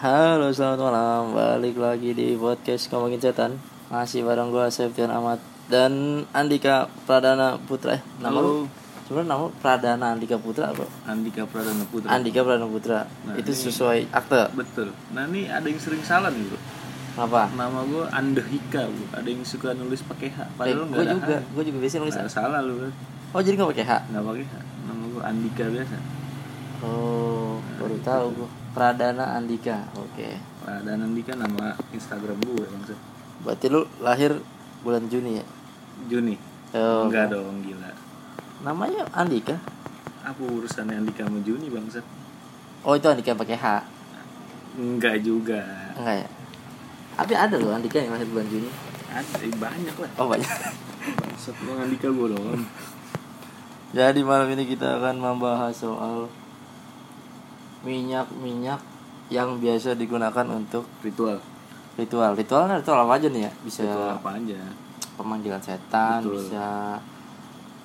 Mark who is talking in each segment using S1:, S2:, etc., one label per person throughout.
S1: Halo selamat malam Balik lagi di podcast Ngomongin Setan Masih bareng gue Septian Ahmad Dan Andika Pradana Putra eh, Nama lu
S2: Halo.
S1: Sebenernya nama lu Pradana Andika Putra bro
S2: Andika Pradana Putra.
S1: Andika Pradana Putra
S2: Nah,
S1: Itu
S2: ini-
S1: sesuai akte
S2: Betul. Nah ini ada yang sering salah nih bro.
S1: Apa?
S2: Nama gue Andehika bro. Ada yang suka nulis pakai H.
S1: Eh,
S2: Padahal nggak
S1: gue
S2: ada
S1: juga,
S2: H.
S1: gue juga biasa nulis
S2: Nah, salah lu bro.
S1: Oh jadi gak pakai H?
S2: Nggak pakai H. Nama gue Andika biasa.
S1: Oh, baru tahu gue Pradana Andika, oke
S2: Nah, dan Andika nama Instagram gue maksud.
S1: Berarti lu lahir bulan Juni ya?
S2: Juni.
S1: Oh,
S2: Enggak dong gila.
S1: Namanya Andika?
S2: Apa urusannya Andika sama Juni bangsat?
S1: Oh itu Andika yang pakai H?
S2: Enggak juga.
S1: Enggak ya? Tapi ada loh Andika yang lahir bulan Juni
S2: Ada eh, banyak lah.
S1: Oh banyak
S2: Bangsat lu Andika gue doang.
S1: Jadi malam ini kita akan membahas soal Minyak-minyak yang biasa digunakan untuk
S2: Ritual.
S1: ritual Ritualnya ritual apa aja nih ya? Bisa
S2: Ritual apa aja?
S1: pemanggilan setan
S2: Betul.
S1: Bisa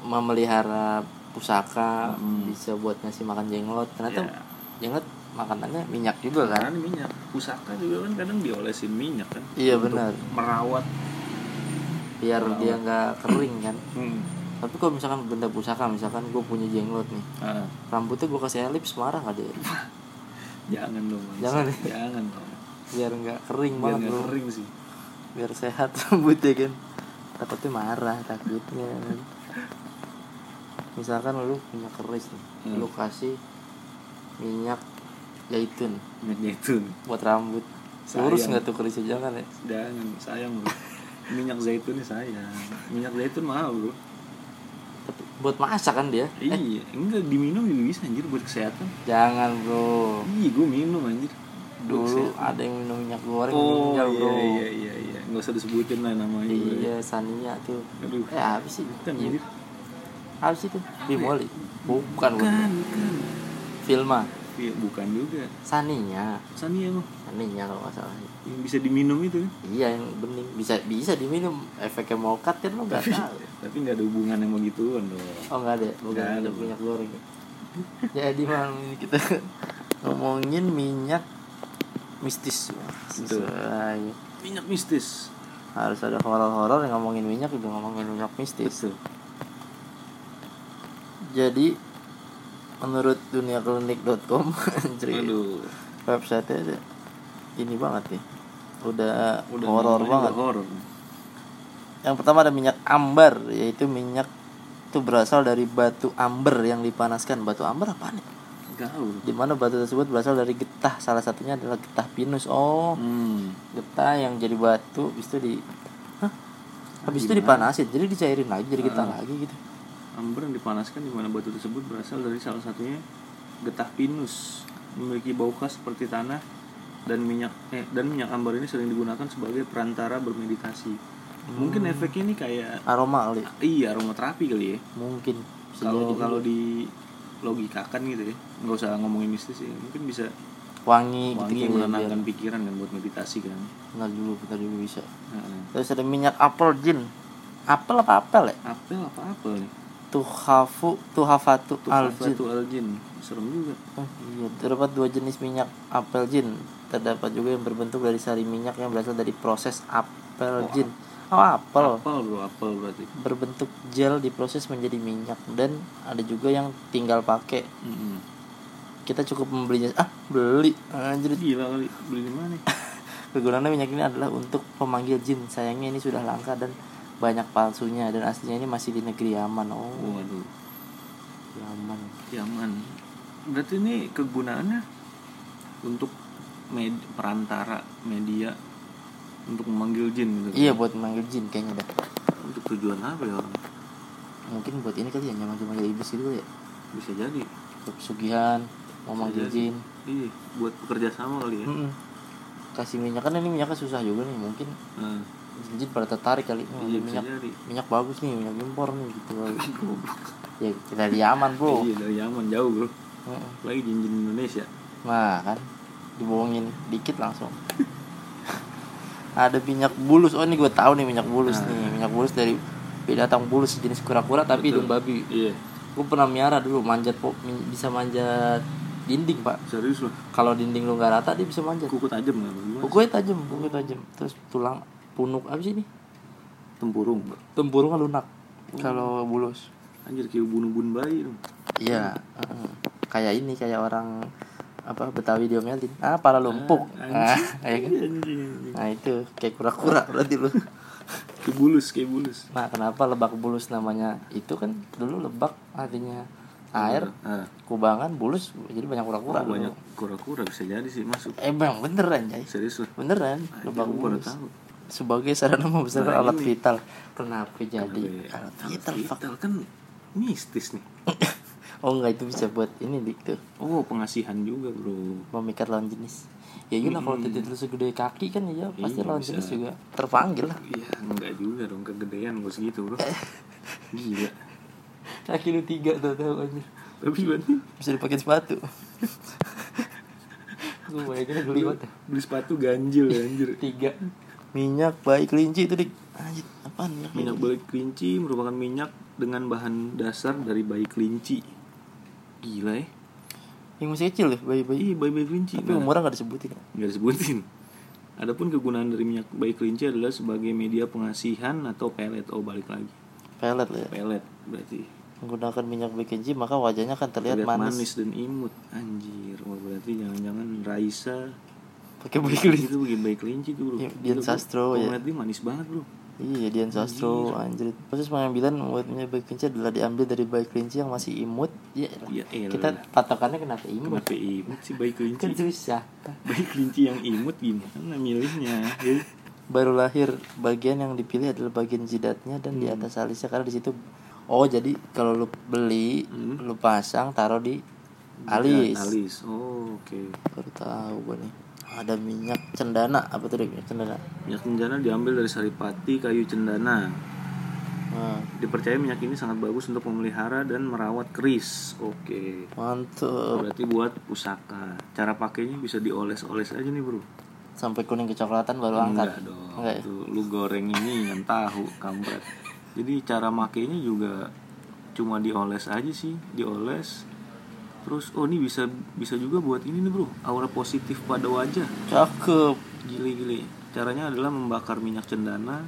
S1: memelihara pusaka
S2: Mm.
S1: Bisa buat ngasih makan jenglot Ternyata
S2: Ya.
S1: jenglot makanannya minyak juga Iya. kan
S2: Karena ini minyak pusaka juga kan kadang diolesin minyak kan
S1: Iya,
S2: Untuk
S1: benar.
S2: merawat
S1: Biar
S2: Wow.
S1: dia nggak kering kan
S2: hmm.
S1: Tapi kalau misalkan benda pusaka Misalkan gue punya jenglot nih
S2: Ah,
S1: Rambutnya gue kasih elips marah gak dia?
S2: jangan dong Mas.
S1: Jangan.
S2: jangan dong
S1: biar nggak kering
S2: biar
S1: banget
S2: nggak
S1: bro
S2: kering sih
S1: biar sehat rambutnya kan takutnya marah takutnya kan. misalkan lu punya keris nih
S2: Hmm.
S1: lu kasih minyak zaitun
S2: minyak zaitun
S1: buat rambut
S2: Sayang.
S1: lurus nggak tuh kerisnya jangan ya
S2: jangan sayang bro minyak zaitun nih sayang minyak zaitun mahal bro
S1: tapi buat masak kan dia eh,
S2: iya enggak diminum juga bisa anjir buat kesehatan
S1: jangan bro
S2: iya gue minum anjir Buat
S1: dulu
S2: kesehatan.
S1: ada yang minum minyak goreng
S2: oh
S1: meninggal,
S2: iya
S1: bro
S2: iya iya iya nggak usah disebutin lah namanya bro.
S1: iya Sania tuh
S2: aduh
S1: eh apa sih
S2: bukan
S1: Iya,
S2: anjir
S1: apa sih tuh Bimoli bukan
S2: bukan
S1: bukan
S2: bukan
S1: Filma
S2: iya bukan juga
S1: Sania
S2: Sania mah
S1: Sania ya, kalau nggak salah
S2: yang bisa diminum itu kan
S1: Iya yang bening bisa bisa diminum efeknya mokat kan lo nggak tahu.
S2: tapi nggak ada hubungan sama gituan dong
S1: Oh nggak ada, bukan
S2: Nggak ada,
S1: ada minyak goreng. Jadi malam ini kita ngomongin minyak mistis. Wah,
S2: Betul.
S1: sesuai.
S2: minyak mistis
S1: Harus ada horor-horor yang ngomongin minyak juga ngomongin minyak mistis.
S2: betul
S1: Jadi menurut duniaklinik.com anjir
S2: aduh
S1: website-nya ini banget nih. Udah,
S2: udah
S1: horor
S2: namanya
S1: banget.
S2: udah horor
S1: Yang pertama ada minyak amber, yaitu minyak itu berasal dari batu amber yang dipanaskan. Batu amber apa nih?
S2: gaul
S1: Di mana batu tersebut berasal dari getah. Salah satunya adalah getah pinus. Oh,
S2: hmm.
S1: getah yang jadi batu habis itu di Hah? Habis itu
S2: Gimana?
S1: dipanasin. Jadi dicairin lagi jadi getah
S2: Ah.
S1: lagi gitu.
S2: amber yang dipanaskan di mana batu tersebut berasal dari salah satunya getah pinus memiliki bau khas seperti tanah dan minyak eh, dan minyak amber ini sering digunakan sebagai perantara bermeditasi mungkin efeknya ini kayak
S1: Aroma kali.
S2: iya aromaterapi kali ya
S1: Mungkin Bisa
S2: kalau
S1: jadi.
S2: kalau di logikakan gitu ya nggak usah ngomongin mistis ya mungkin bisa
S1: wangi, gitu
S2: wangi
S1: kali ya, biar-
S2: menenangkan pikiran kan buat meditasi kan
S1: Bentar dulu, bentar dulu bisa.
S2: Heeh.
S1: Terus ada minyak apel jin. Apel apa apel ya?
S2: apel apa apel nih
S1: Tuhafu, tuhafatu
S2: tuh
S1: aljin.
S2: tuh aljin serem juga
S1: Oh, iya, terdapat dua jenis minyak apel jin. Terdapat juga yang berbentuk dari sari minyak yang berasal dari proses apel
S2: Oh,
S1: jin. Oh, apel.
S2: apel bro apel berarti
S1: Berbentuk gel diproses menjadi minyak dan ada juga yang tinggal pakai.
S2: Mm-mm.
S1: Kita cukup membelinya ah, beli. Anjir.
S2: gila kali beli di mana
S1: Kegunaannya minyak ini adalah untuk pemanggil jin. Sayangnya ini sudah langka dan banyak palsunya dan aslinya ini masih di negeri Yaman. Oh,
S2: waduh
S1: Yaman.
S2: Yaman berarti ini kegunaannya untuk med- perantara media untuk memanggil jin gitu kan?
S1: Iya buat memanggil jin kayaknya dah.
S2: untuk tujuan apa ya orang?
S1: Mungkin buat ini kali ya nyamang-nyamang iblis gitu ya.
S2: bisa jadi
S1: Pesugihan, mau manggil
S2: jadi.
S1: jin. Hmm.
S2: iya buat bekerja sama kali ya
S1: Mm-mm. kasih minyak kan ini minyaknya susah juga nih mungkin
S2: Nah,
S1: jin pada tertarik kali Oh,
S2: iya
S1: ini
S2: bisa
S1: minyak
S2: jadi
S1: minyak bagus nih minyak impor nih gitu ya kita di aman bro
S2: Iya dari Yaman jauh bro
S1: Mm-mm.
S2: Lagi jinjin Indonesia
S1: nah kan dibohongin dikit langsung ada minyak bulus oh ini gue tahu nih minyak bulus
S2: Nah.
S1: nih minyak bulus dari binatang bulus jenis kura-kura tapi
S2: Betul.
S1: hidung babi
S2: Iya
S1: gue pernah miara dulu manjat po- min- bisa manjat dinding pak
S2: Serius loh.
S1: kalau dinding lu nggak rata dia bisa manjat
S2: Kuku tajam nggak? Bang? Gimana?
S1: kukunya tajam kukunya tajam terus tulang punuk apa sih ini
S2: Tempurung. Bang.
S1: tempurung kan lunak
S2: Hmm.
S1: kalau bulus
S2: Anjir kayak bunuh-bun bayi dong.
S1: iya heeh.
S2: Hmm.
S1: kayak ini kayak orang apa Betawi diomelin ah para lumpuk ah, iya kan?
S2: Anjir.
S1: nah itu kayak kura-kura berarti lu
S2: Kayak bulus, kayak bulus.
S1: nah kenapa lebak bulus namanya itu kan dulu lebak artinya air
S2: Ah,
S1: kubangan bulus jadi banyak kura-kura
S2: oh,
S1: dulu.
S2: banyak kura-kura bisa jadi sih masuk.
S1: eh bang beneran Jay
S2: Serius loh.
S1: beneran
S2: Anjir,
S1: lebak
S2: gua baru
S1: bulus
S2: tahu.
S1: sebagai sarana membesarkan
S2: Nah,
S1: alat
S2: ini.
S1: vital kenapa jadi
S2: Iya,
S1: alat
S2: alat
S1: vital Pak?
S2: vital kan mistis nih.
S1: oh enggak itu bisa buat ini dik tuh
S2: Oh, pengasihan juga, Bro.
S1: memikat lawan jenis ya iyalah kalau titik lu segede kaki kan ya pasti
S2: Iya,
S1: lawan
S2: bisa.
S1: jenis juga terpanggil lah
S2: Iya, enggak juga dong kegedean gue segitu, Bro. Gila.
S1: kaki lu tiga tuh tahu aja
S2: Tapi berarti
S1: bisa dipakai sepatu gue bayangin geli banget dah.
S2: beli sepatu ganjil ya, anjir.
S1: tiga minyak baik kelinci itu dik anjir apaan minyak
S2: Minyak
S1: baik
S2: bayi kelinci merupakan minyak dengan bahan dasar dari bayi kelinci. Gila ya.
S1: yang masih kecil ya bayi bayi
S2: Iya, bayi-bayi kelinci.
S1: tapi
S2: Nah,
S1: umurnya nggak disebutin ya.
S2: nggak disebutin. Adapun kegunaan dari minyak bayi kelinci adalah sebagai media pengasihan atau pelet. Oh, balik lagi.
S1: pelet lah ya
S2: Pelet berarti
S1: menggunakan minyak baik kelinci maka wajahnya akan terlihat
S2: terlihat manis.
S1: manis,
S2: dan imut. Anjir, wah berarti jangan-jangan Raisa
S1: pakai bayi kelinci
S2: itu bayi bayi kelinci tuh, Bro.
S1: Iya, Dian
S2: Gila, gua-
S1: Sastro,
S2: gua
S1: ya.
S2: ngeliat dia manis banget, Bro.
S1: Iya, Dian Sastro, anjir. Proses pengambilan membuatnya bayi kelinci adalah diambil dari bayi kelinci yang masih imut. Ya, elah.
S2: Ya elah.
S1: kita patokannya kenapa imut?
S2: Kenapa imut sih bayi kelinci?
S1: Kan susah.
S2: bayi kelinci yang imut gimana milihnya? Ya.
S1: Baru lahir, bagian yang dipilih adalah bagian jidatnya dan di atas alisnya karena di situ Oh, jadi kalau lu beli, lu pasang taruh Hmm. di alis.
S2: Alis. Oh, oke.
S1: Baru tahu gue nih. Ada minyak cendana, apa tuh Dek? minyak cendana?
S2: Minyak cendana diambil dari saripati kayu cendana.
S1: Nah,
S2: Dipercaya minyak ini sangat bagus untuk memelihara dan merawat keris. Oke.
S1: mantep.
S2: Berarti buat pusaka. Cara pakainya bisa dioles-oles aja nih, Bro.
S1: Sampai kuning kecoklatan baru angkat.
S2: Enggak dong.
S1: Enggak ya?
S2: Tuh, lu goreng ini yang tahu kampret. Jadi cara makainya juga cuma dioles aja sih, dioles. Terus oh ini bisa bisa juga buat ini nih, Bro. Aura positif pada wajah.
S1: Cakep.
S2: Gili-gili. Caranya adalah membakar minyak cendana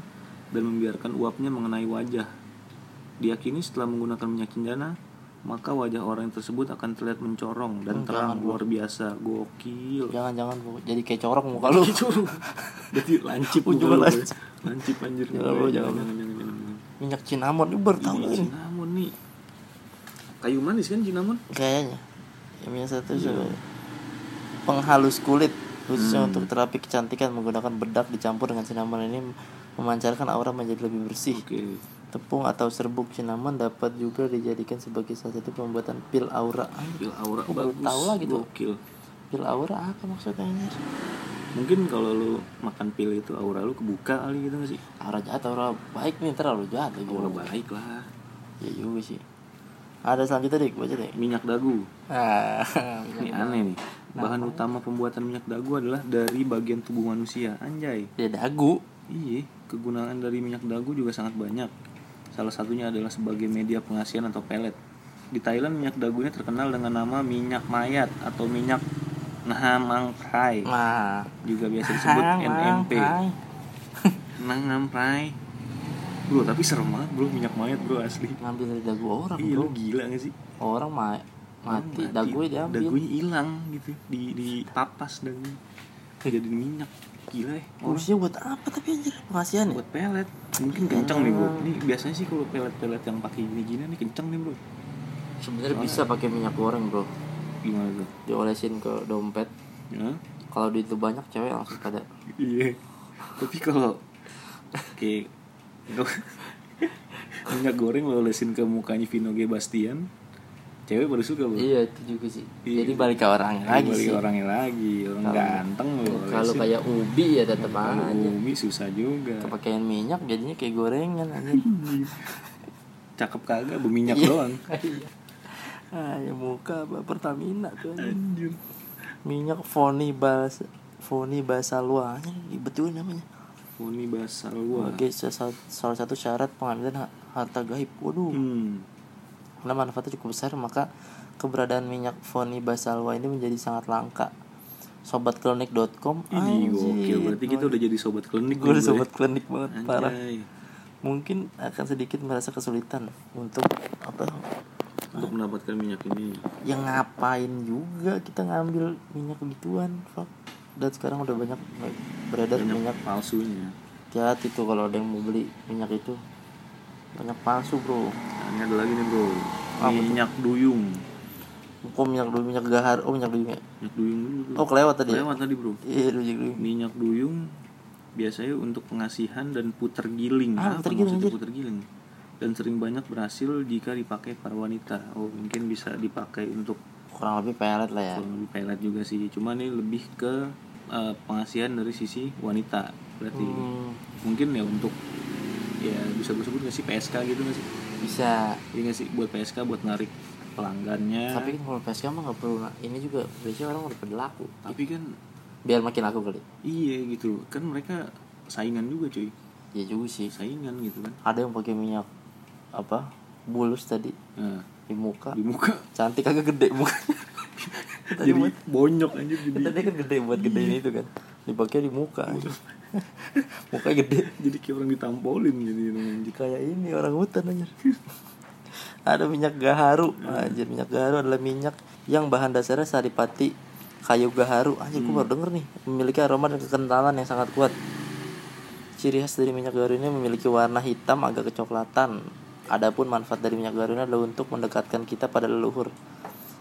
S2: dan membiarkan uapnya mengenai wajah. Diakini setelah menggunakan minyak cendana, maka wajah orang tersebut akan terlihat mencorong dan terang luar biasa. Gokil.
S1: Jangan-jangan Bu. jadi kayak corok muka lu.
S2: Jadi lancip
S1: Ujungnya
S2: muka lu,
S1: lancip.
S2: Boy. Lancip anjir.
S1: Jangan, bro, jangan.
S2: jangan, jangan, jangan, jangan.
S1: Minyak cinamon itu baru tahu
S2: Ini
S1: ini.
S2: cinnamon nih. Kayu manis kan cinnamon?
S1: Kayaknya. Ya, Yang minyak satu
S2: Iya.
S1: sebagai penghalus kulit
S2: Hmm.
S1: khususnya untuk terapi kecantikan menggunakan bedak dicampur dengan cinamon ini memancarkan aura menjadi lebih bersih.
S2: Oke.
S1: Tepung atau serbuk cinamon dapat juga dijadikan sebagai salah satu pembuatan pil aura. Anjir,
S2: Gokil aura
S1: Gua baru
S2: bagus.
S1: tahu lagi tuh.
S2: Gokil.
S1: Pil aura apa maksudnya anjir?
S2: Mungkin kalau lu makan pil itu aura lu kebuka kali gitu gak sih?
S1: Aura jahat, aura baik nih terlalu jahat ya
S2: Aura
S1: gua.
S2: baik lah.
S1: Ya juga sih. Ada selanjutnya dik, baca deh.
S2: Minyak dagu.
S1: Ah,
S2: Ini aneh nih. Bahan utama pembuatan minyak dagu adalah dari bagian tubuh manusia. Anjay.
S1: ya dagu.
S2: Iya, kegunaan dari minyak dagu juga sangat banyak. Salah satunya adalah sebagai media pengasihan atau pelet. Di Thailand minyak dagunya terkenal dengan nama minyak mayat atau minyak Nahamangprai,
S1: Nah,
S2: juga biasa disebut
S1: Hang,
S2: NMP.
S1: hang, hai.
S2: Nahamangprai. Bro, tapi serem banget bro minyak mayat bro asli.
S1: Ngambil dari dagu orang,
S2: Iya,
S1: bro.
S2: lu gila gak sih?
S1: Orang ma Oh, mati, dagunya diambil.
S2: Dagunya hilang gitu, di di papas dagunya. Jadi minyak. Gila ya. Orang
S1: Fungsinya buat apa tapi anjir? Pengasihan ya?
S2: buat pelet mungkin kenceng nih
S1: Ah.
S2: bro ini biasanya sih kalau pelet-pelet yang pakai gini-gini nih kenceng nih bro
S1: Sebenarnya bisa pakai minyak goreng, bro.
S2: gimana bro
S1: Diolesin ke dompet.
S2: ya
S1: Kalau duit lu banyak, cewek langsung pada
S2: iya tapi kalau kayak nggak- minyak goreng lo lesin ke mukanya Vino G Bastian cewek baru suka bro
S1: Iya, itu juga sih.
S2: Iya.
S1: Jadi balik ke Iya, orangnya lagi
S2: Balik
S1: sih.
S2: orangnya lagi orang ganteng lo
S1: Kalau
S2: lesin
S1: kayak ubi ya tetap
S2: Kalau
S1: aja.
S2: Umi susah juga
S1: Kepakean minyak jadinya kayak gorengan anjir.
S2: cakep kagak berminyak doang
S1: Iya. Ah, ya muka apa Pertamina tuh anjing.
S2: anjir
S1: minyak foni bas foni basalua ini betulin namanya
S2: Uni basal gua
S1: sebagai salah- ya, salah satu syarat pengambilan ha- harta gaib waduh
S2: hmm.
S1: karena manfaatnya cukup besar maka keberadaan minyak foni basalwa ini menjadi sangat langka. Sobatklinik.com
S2: Ini
S1: anjir,
S2: gokil berarti kita udah jadi sobat klinik
S1: gue udah
S2: nih,
S1: sobat klinik banget
S2: Anjay.
S1: parah mungkin akan sedikit merasa kesulitan untuk apa
S2: Untuk mendapatkan minyak ini
S1: yang ngapain juga kita ngambil minyak begituan fuck. dan sekarang udah banyak beredar minyak
S2: minyak palsunya.
S1: hati-hati tuh kalau ada yang mau beli minyak itu banyak palsu bro
S2: Nah, ini ada lagi nih bro, minyak duyung.
S1: kok minyak dulu minyak gahar oh minyak dulu ya
S2: Minyak duyung dulu. bro.
S1: oh kelewat tadi ya
S2: Lewat tadi bro.
S1: iya dulu dulu
S2: Minyak duyung biasanya untuk pengasihan dan puter giling.
S1: Ah,
S2: Apa
S1: puter giling,
S2: maksudnya
S1: anjir.
S2: puter giling? Dan sering banyak berhasil jika dipakai para wanita. Oh mungkin bisa dipakai untuk
S1: kurang lebih pelet lah ya
S2: kurang lebih pelet juga sih. Cuma ini lebih ke eh, pengasihan dari sisi wanita berarti.
S1: hmm,
S2: Mungkin ya untuk ya bisa gue sebut nggak sih PSK gitu nggak sih?
S1: bisa
S2: Iya nggak sih buat PSK buat narik pelanggannya.
S1: tapi kan kalau PSK mah nggak perlu na- ini juga biasanya orang udah pada laku
S2: tapi kan
S1: biar makin laku kali
S2: iya gitu kan mereka saingan juga cuy
S1: ya juga sih
S2: saingan gitu kan
S1: ada yang pakai minyak apa bulus tadi
S2: nah,
S1: di muka
S2: di muka
S1: cantik agak gede muka tadi
S2: jadi
S1: buat
S2: bonyok anjir
S1: tadi
S2: jadi
S1: kan gede buat gedein itu kan dipakai di muka muka gede
S2: jadi kayak orang ditampolin jadi anjir
S1: kayak ini orang hutan anjir ada minyak gaharu anjir minyak gaharu adalah minyak yang bahan dasarnya saripati kayu gaharu anjir gue baru denger nih memiliki aroma dan kekentalan yang sangat kuat ciri khas dari minyak gaharu ini memiliki warna hitam agak kecoklatan adapun manfaat dari minyak gaharu ini adalah untuk mendekatkan kita pada leluhur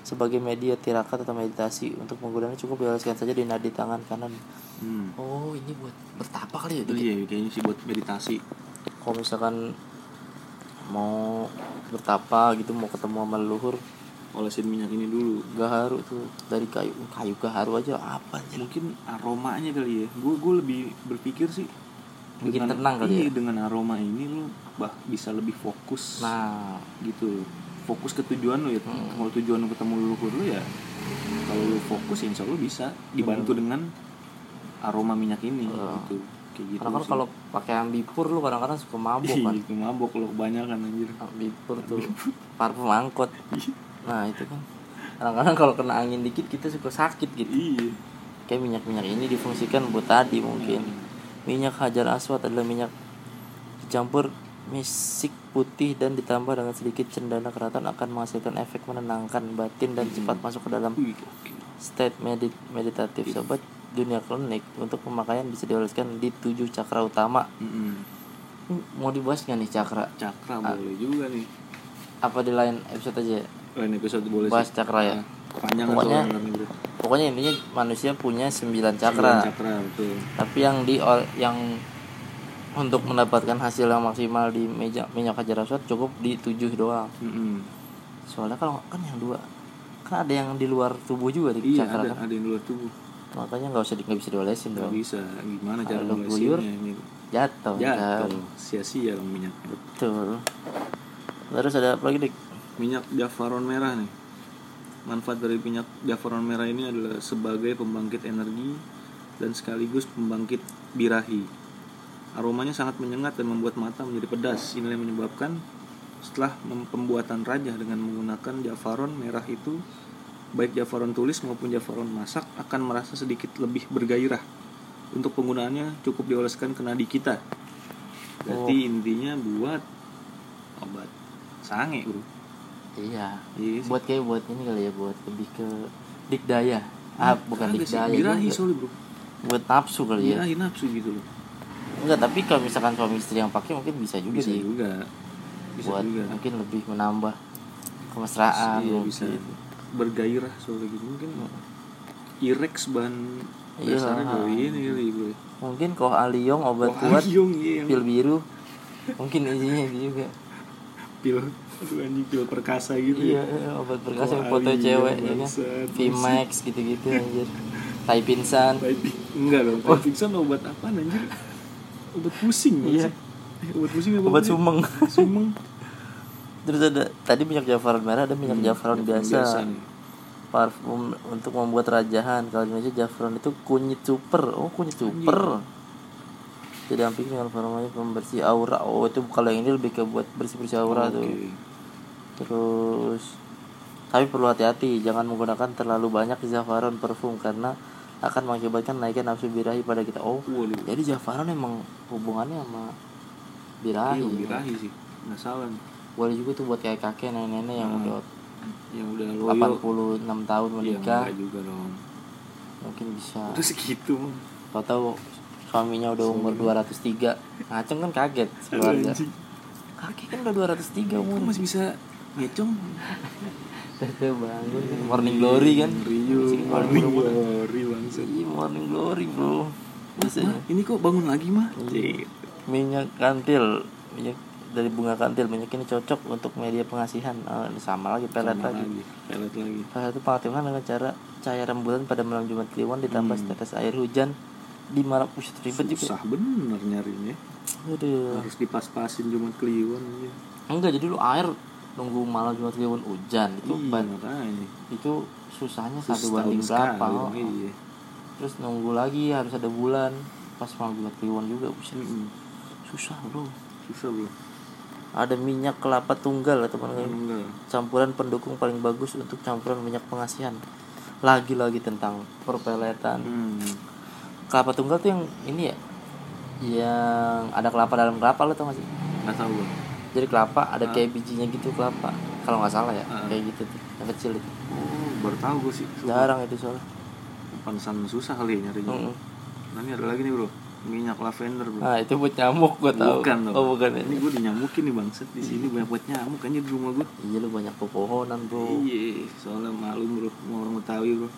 S1: sebagai media tirakat atau meditasi untuk menggunakannya cukup dioleskan saja di nadi tangan kanan
S2: hmm.
S1: oh ini buat bertapa kali ya
S2: itu iya kayaknya sih buat meditasi
S1: kalau misalkan mau bertapa gitu mau ketemu sama leluhur
S2: olesin minyak ini dulu
S1: gaharu tuh dari kayu kayu gaharu aja apa anjir
S2: mungkin aromanya kali ya gue gue lebih berpikir sih
S1: Bikin
S2: dengan-
S1: tenang kali
S2: iya,
S1: ya?
S2: dengan aroma ini lu bah bisa lebih fokus
S1: nah Hmm.
S2: gitu fokus ke tujuan lu ya kalau tujuan lu ketemu leluhur lu ya kalau lu fokus ya insya Allah bisa dibantu dengan aroma minyak ini gitu kayak gitu
S1: karena kan
S2: sih.
S1: kalau pakai ambipur lu kadang-kadang suka mabok
S2: Ih,
S1: kan
S2: itu mabok lu kebanyakan anjir
S1: ambipur tuh parfum angkot nah itu kan kadang-kadang kalau kena angin dikit kita suka sakit gitu
S2: iya
S1: kayak minyak-minyak ini difungsikan buat tadi mungkin minyak hajar aswad adalah minyak dicampur misik putih dan ditambah dengan sedikit cendana keraton akan menghasilkan efek menenangkan batin dan cepat masuk ke dalam
S2: Nah, Wih, oke
S1: state medit meditatif sobat dunia klinik untuk pemakaian bisa dioleskan di tujuh cakra utama Hmm, mau dibahas nggak nih cakra
S2: cakra
S1: Ah.
S2: boleh juga nih
S1: apa di lain episode aja ya?
S2: lain episode boleh
S1: bahas
S2: sih Hmm.
S1: cakra ya
S2: panjang
S1: Pokoknya
S2: soalnya ntar nih, bro.
S1: pokoknya intinya manusia punya sembilan
S2: Bukan
S1: cakra
S2: Iya, cakra betul
S1: tapi yang di ol- yang untuk mendapatkan hasil yang maksimal di meja minyak hajar aswad cukup di tujuh doang
S2: Mm-mm.
S1: soalnya kalau kan yang dua kan ada yang di luar tubuh juga di
S2: iya
S1: cakra
S2: ada
S1: kan
S2: ada yang di luar tubuh
S1: makanya nggak usah di, nggak bisa diolesin
S2: nggak
S1: dong
S2: bisa gimana cara
S1: Ada
S2: ngolesinya
S1: guyur.
S2: ini
S1: jatuh kan.
S2: jatuh sia-sia dong minyaknya
S1: betul terus ada apa lagi dik
S2: minyak jafaron merah nih manfaat dari minyak jafaron merah ini adalah sebagai pembangkit energi dan sekaligus pembangkit birahi aromanya sangat menyengat dan membuat mata menjadi pedas inilah yang menyebabkan setelah mem- pembuatan rajah dengan menggunakan jafaron merah itu baik jafaron tulis maupun jafaron masak akan merasa sedikit lebih bergairah untuk penggunaannya cukup dioleskan ke nadi kita berarti intinya buat obat sange bro
S1: iya
S2: Iya
S1: buat kayak buat ini kali ya buat lebih ke dikdaya ah bukan Oh,
S2: Agak Iya, sih,
S1: dikdaya
S2: birahi
S1: juga.
S2: soalnya bro
S1: buat nafsu kali ya
S2: Birahi nafsu gitu loh
S1: enggak tapi kalau misalkan suami istri yang pakai mungkin bisa juga
S2: Bisa
S1: Iya sih
S2: juga Bisa
S1: buat ah,
S2: juga
S1: mungkin lebih menambah kemesraan
S2: Iya
S1: mungkin.
S2: bisa Bergairah soalnya gitu Mungkin Irex bahan
S1: Iya.
S2: Dasarnya dari ini kali bro
S1: mungkin koh aliong obat
S2: Wah,
S1: kuat
S2: Yung, iya yang
S1: pil biru mungkin isinya itu juga
S2: pil Aduh anjing pil perkasa gitu
S1: iya iya, obat perkasa yang
S2: Koh
S1: foto
S2: Aliong,
S1: cewek ya kan
S2: bangsat,
S1: Vimax gitu-gitu anjir tai pinsan
S2: Tai pi- Enggak dong
S1: Oh.
S2: Tai pingsan obat apa anjir Obat pusing
S1: Iya.
S2: maksud. Eh, Obat pusing apa
S1: obat
S2: namanya?
S1: sumeng
S2: Sumeng
S1: terus ada tadi minyak jafaran merah ada minyak jafaran biasa
S2: nih.
S1: parfum untuk membuat rajahan kalau di Indonesia jafaran itu kunyit super oh kunyit super didampingi dengan formanya pembersih aura oh itu kalau yang ini lebih ke buat bersih bersih aura tuh
S2: Oke.
S1: terus Tapi perlu hati-hati, jangan menggunakan terlalu banyak zafaran parfum karena akan mengakibatkan naiknya nafsu birahi pada kita. Oh,
S2: Waduh.
S1: jadi zafaran emang hubungannya sama birahi.
S2: Iya, birahi sih. Nggak salah nih.
S1: Boleh juga tuh buat kayak kakek nenek-nenek yang udah
S2: Yang udah loyo.
S1: 86 tahun
S2: Nah, Iya,
S1: menikah,
S2: nggak juga dong.
S1: mungkin bisa.
S2: Udah segitu. Mang.
S1: Tau tahu suaminya udah umur 203. Ngaceng kan kaget
S2: Aduh,
S1: keluarga.
S2: anjing.
S1: Kakek kan udah 203
S2: Kok
S1: umur.
S2: masih bisa ngecong?
S1: bangun. Morning glory kan.
S2: Rio.
S1: Masih kepala
S2: Morning
S1: bulu-bulu.
S2: glory bangsat.
S1: Iya, morning glory, Bro. Masih
S2: Mah, ini kok bangun lagi mah?
S1: Iya. minyak kantil. Minyak dari bunga kantil minyak ini cocok untuk media pengasihan Ah, ini sama lagi pelet
S2: Sama
S1: lagi
S2: lagi. Pelet lagi.
S1: salah satu pengaktifan dengan cara cahaya rembulan pada malam Jumat Kliwon ditambah setetes air hujan di malam Ush, ribet juga Iya.
S2: Hmm. Susah bener nyarinya.
S1: Aduh.
S2: Harus dipas-pasin Jumat Kliwon iya. aja.
S1: enggak jadi lu air nunggu malam Jumat Kliwon hujan itu
S2: Iya,
S1: ban-
S2: makanya.
S1: itu susahnya
S2: Terus
S1: satu banding
S2: setahun sekali
S1: berapa
S2: dong,
S1: oh.
S2: Iya.
S1: terus nunggu lagi harus ada bulan pas malam Jumat Kliwon juga buset.
S2: Mm-mm.
S1: susah bro
S2: Susah bro.
S1: Iya. ada minyak kelapa tunggal atau teman
S2: Emang enggak.
S1: campuran pendukung paling bagus untuk campuran minyak pengasihan lagi-lagi tentang perpeletan
S2: Hmm.
S1: kelapa tunggal tuh yang ini ya yang ada kelapa dalam kelapa lo tau gak sih
S2: Nggak tahu bro.
S1: jadi kelapa ada kayak bijinya gitu kelapa kalau nggak salah ya
S2: Ah.
S1: kayak gitu tuh yang kecil itu
S2: Oh, baru tahu gue sih. Sumpah.
S1: jarang itu soalnya
S2: Pantesan susah kali ya nyarinya.
S1: Mm-mm.
S2: Nah, ini ada lagi nih, Bro. Minyak lavender, Bro.
S1: nah itu buat nyamuk gue tahu
S2: bukan, loh.
S1: oh bukan ya
S2: Ini gue dinyamukin nih, Bangset. Di sini banyak buat nyamuk aja di rumah gue.
S1: iya lu banyak pepohonan bro
S2: Iya, soalnya malu, Bro. Mau orang Betawi, Bro.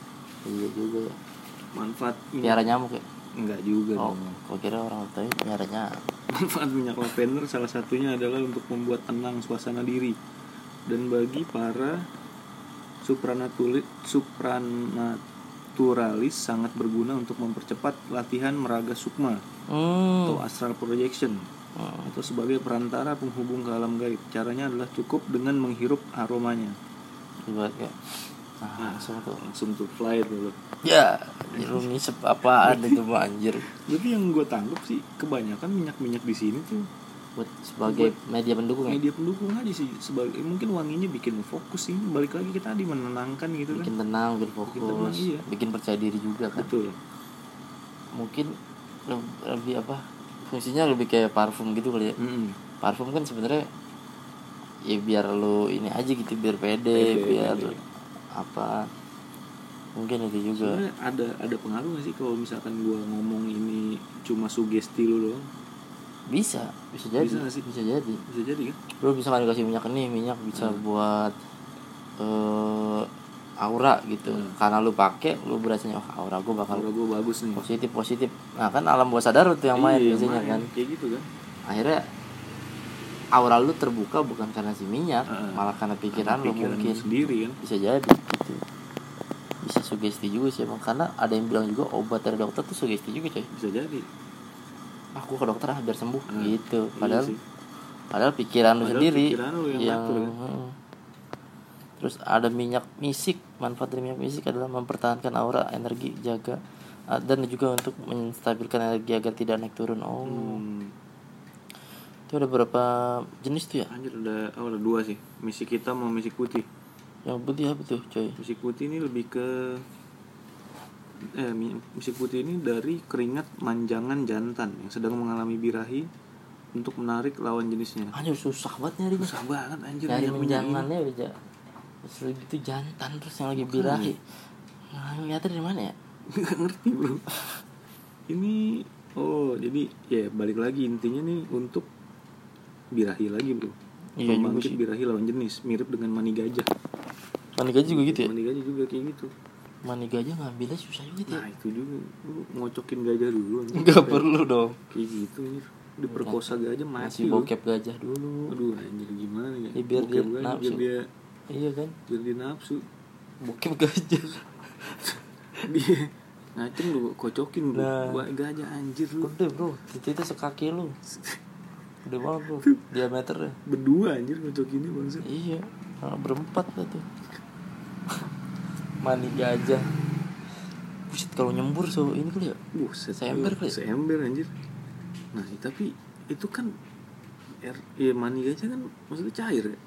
S1: iya juga ya
S2: Manfaat minyak
S1: piara nyamuk ya
S2: enggak juga
S1: oh
S2: dong.
S1: kok kira orang tadi piara nyamuk
S2: Manfaat minyak lavender salah satunya adalah untuk membuat tenang suasana diri dan bagi para supranatuli- supranaturalis sangat berguna untuk mempercepat latihan meraga sukma
S1: hmm.
S2: atau astral projection
S1: Hmm.
S2: atau sebagai perantara penghubung ke alam gaib. Caranya adalah cukup dengan menghirup aromanya.
S1: Buat Hmm, kayak nah,
S2: Ah.
S1: langsung tuh
S2: Langsung to fly dulu.
S1: Ya, lu ngisep apaan itu mah anjir
S2: Jadi yang gue tangkap sih kebanyakan minyak-minyak di sini tuh
S1: Buat sebagai media pendukung ya
S2: media pendukung aja sih sebagai mungkin wanginya bikin fokus sih balik lagi kita tadi menenangkan gitu kan
S1: Bikin tenang, bikin fokus,
S2: Bikin
S1: bikin,
S2: tenang, iya.
S1: percaya diri juga kan
S2: betul
S1: Mungkin leb- lebih apa, fungsinya lebih kayak parfum gitu kali ya
S2: Mm-mm.
S1: Parfum kan sebenarnya ya biar lu ini aja gitu, biar pede,
S2: Pede, iya.
S1: biar
S2: pede.
S1: apa Mungkin itu juga
S2: Sebenarnya ada ada pengaruh gak sih kalau misalkan gua ngomong ini cuma sugesti lu doang
S1: Bisa, bisa jadi,
S2: Bisa nggak sih?
S1: bisa jadi
S2: bisa jadi kan
S1: lu bisa kan dikasih minyak nih minyak bisa
S2: Hmm.
S1: buat eh aura gitu
S2: Hmm.
S1: karena lu pakai lu berasanya oh, aura gue bakal
S2: kalau gua bagus nih
S1: positif positif nah kan alam bawah sadar tuh yang main
S2: Iya,
S1: biasanya
S2: main.
S1: kan
S2: kayak gitu kan
S1: akhirnya aura lu terbuka bukan karena si minyak
S2: Heeh.
S1: malah karena pikiran,
S2: Pikiran
S1: lu mungkin
S2: sendiri kan
S1: bisa jadi gitu. bisa sugesti juga sih emang karena ada yang bilang juga obat dari dokter tuh sugesti juga coy
S2: bisa jadi
S1: aku ke dokter ah biar sembuh
S2: Hmm.
S1: gitu
S2: Iya
S1: padahal
S2: sih.
S1: padahal pikiran lu
S2: Padahal
S1: sendiri
S2: pikiran lu yang ngatur, kan?
S1: heeh. terus ada minyak misik manfaat dari minyak misik adalah mempertahankan aura energi jaga ah, dan juga untuk menstabilkan energi agar tidak naik turun oh
S2: Hmm,
S1: itu ada berapa jenis tuh ya
S2: anjir ada oh, ada dua sih misi hitam sama misi putih
S1: yang putih apa tuh coy
S2: Musik putih ini lebih ke eh mi- musik putih ini dari keringat manjangan jantan yang sedang mengalami birahi untuk menarik lawan jenisnya.
S1: anjir susah banget nyarinya
S2: Susah banget anjir
S1: nyari
S2: minyak minyak ini.
S1: menjangannya udah ja- terus udah gitu jantan terus yang lagi
S2: iya.
S1: birahi nah, ngeliatnya dari mana ya
S2: Nggak ngerti bro. Ini oh jadi ya balik lagi intinya nih untuk birahi lagi bro.
S1: Iya juga
S2: Pembangkit birahi lawan jenis mirip dengan mani gajah.
S1: mani gajah juga gitu ya
S2: Mani gajah juga kayak gitu.
S1: mani gajah ngambilnya susah juga gitu ya
S2: Nah iya. itu juga lu ngocokin gajah dulu. anjir.
S1: nggak perlu dong
S2: Kayak gitu anjir. Diperkosa gajah
S1: masih
S2: mati bro.
S1: bokep gajah dulu
S2: Aduh anjir gimana ya?
S1: Ya, biar
S2: Bokep
S1: dia
S2: gua aja,
S1: nafsu.
S2: biar dia
S1: iya kan
S2: biar dia nafsu.
S1: bokep gajah
S2: dia ngaceng lu kocokin lu.
S1: Nah.
S2: Gua gajah anjir lu.
S1: gede bro titiknya sekaki lu gede banget bro diameternya
S2: Berdua anjir kocokinnya bangsa.
S1: iya nah, berempat lah tuh mani gajah buset kalau nyembur so ini kali ya
S2: Buset.
S1: Seember
S2: bro.
S1: kali.
S2: Seember anjir. Nah, tapi itu kan air ya mani gajah kan maksudnya cair ya.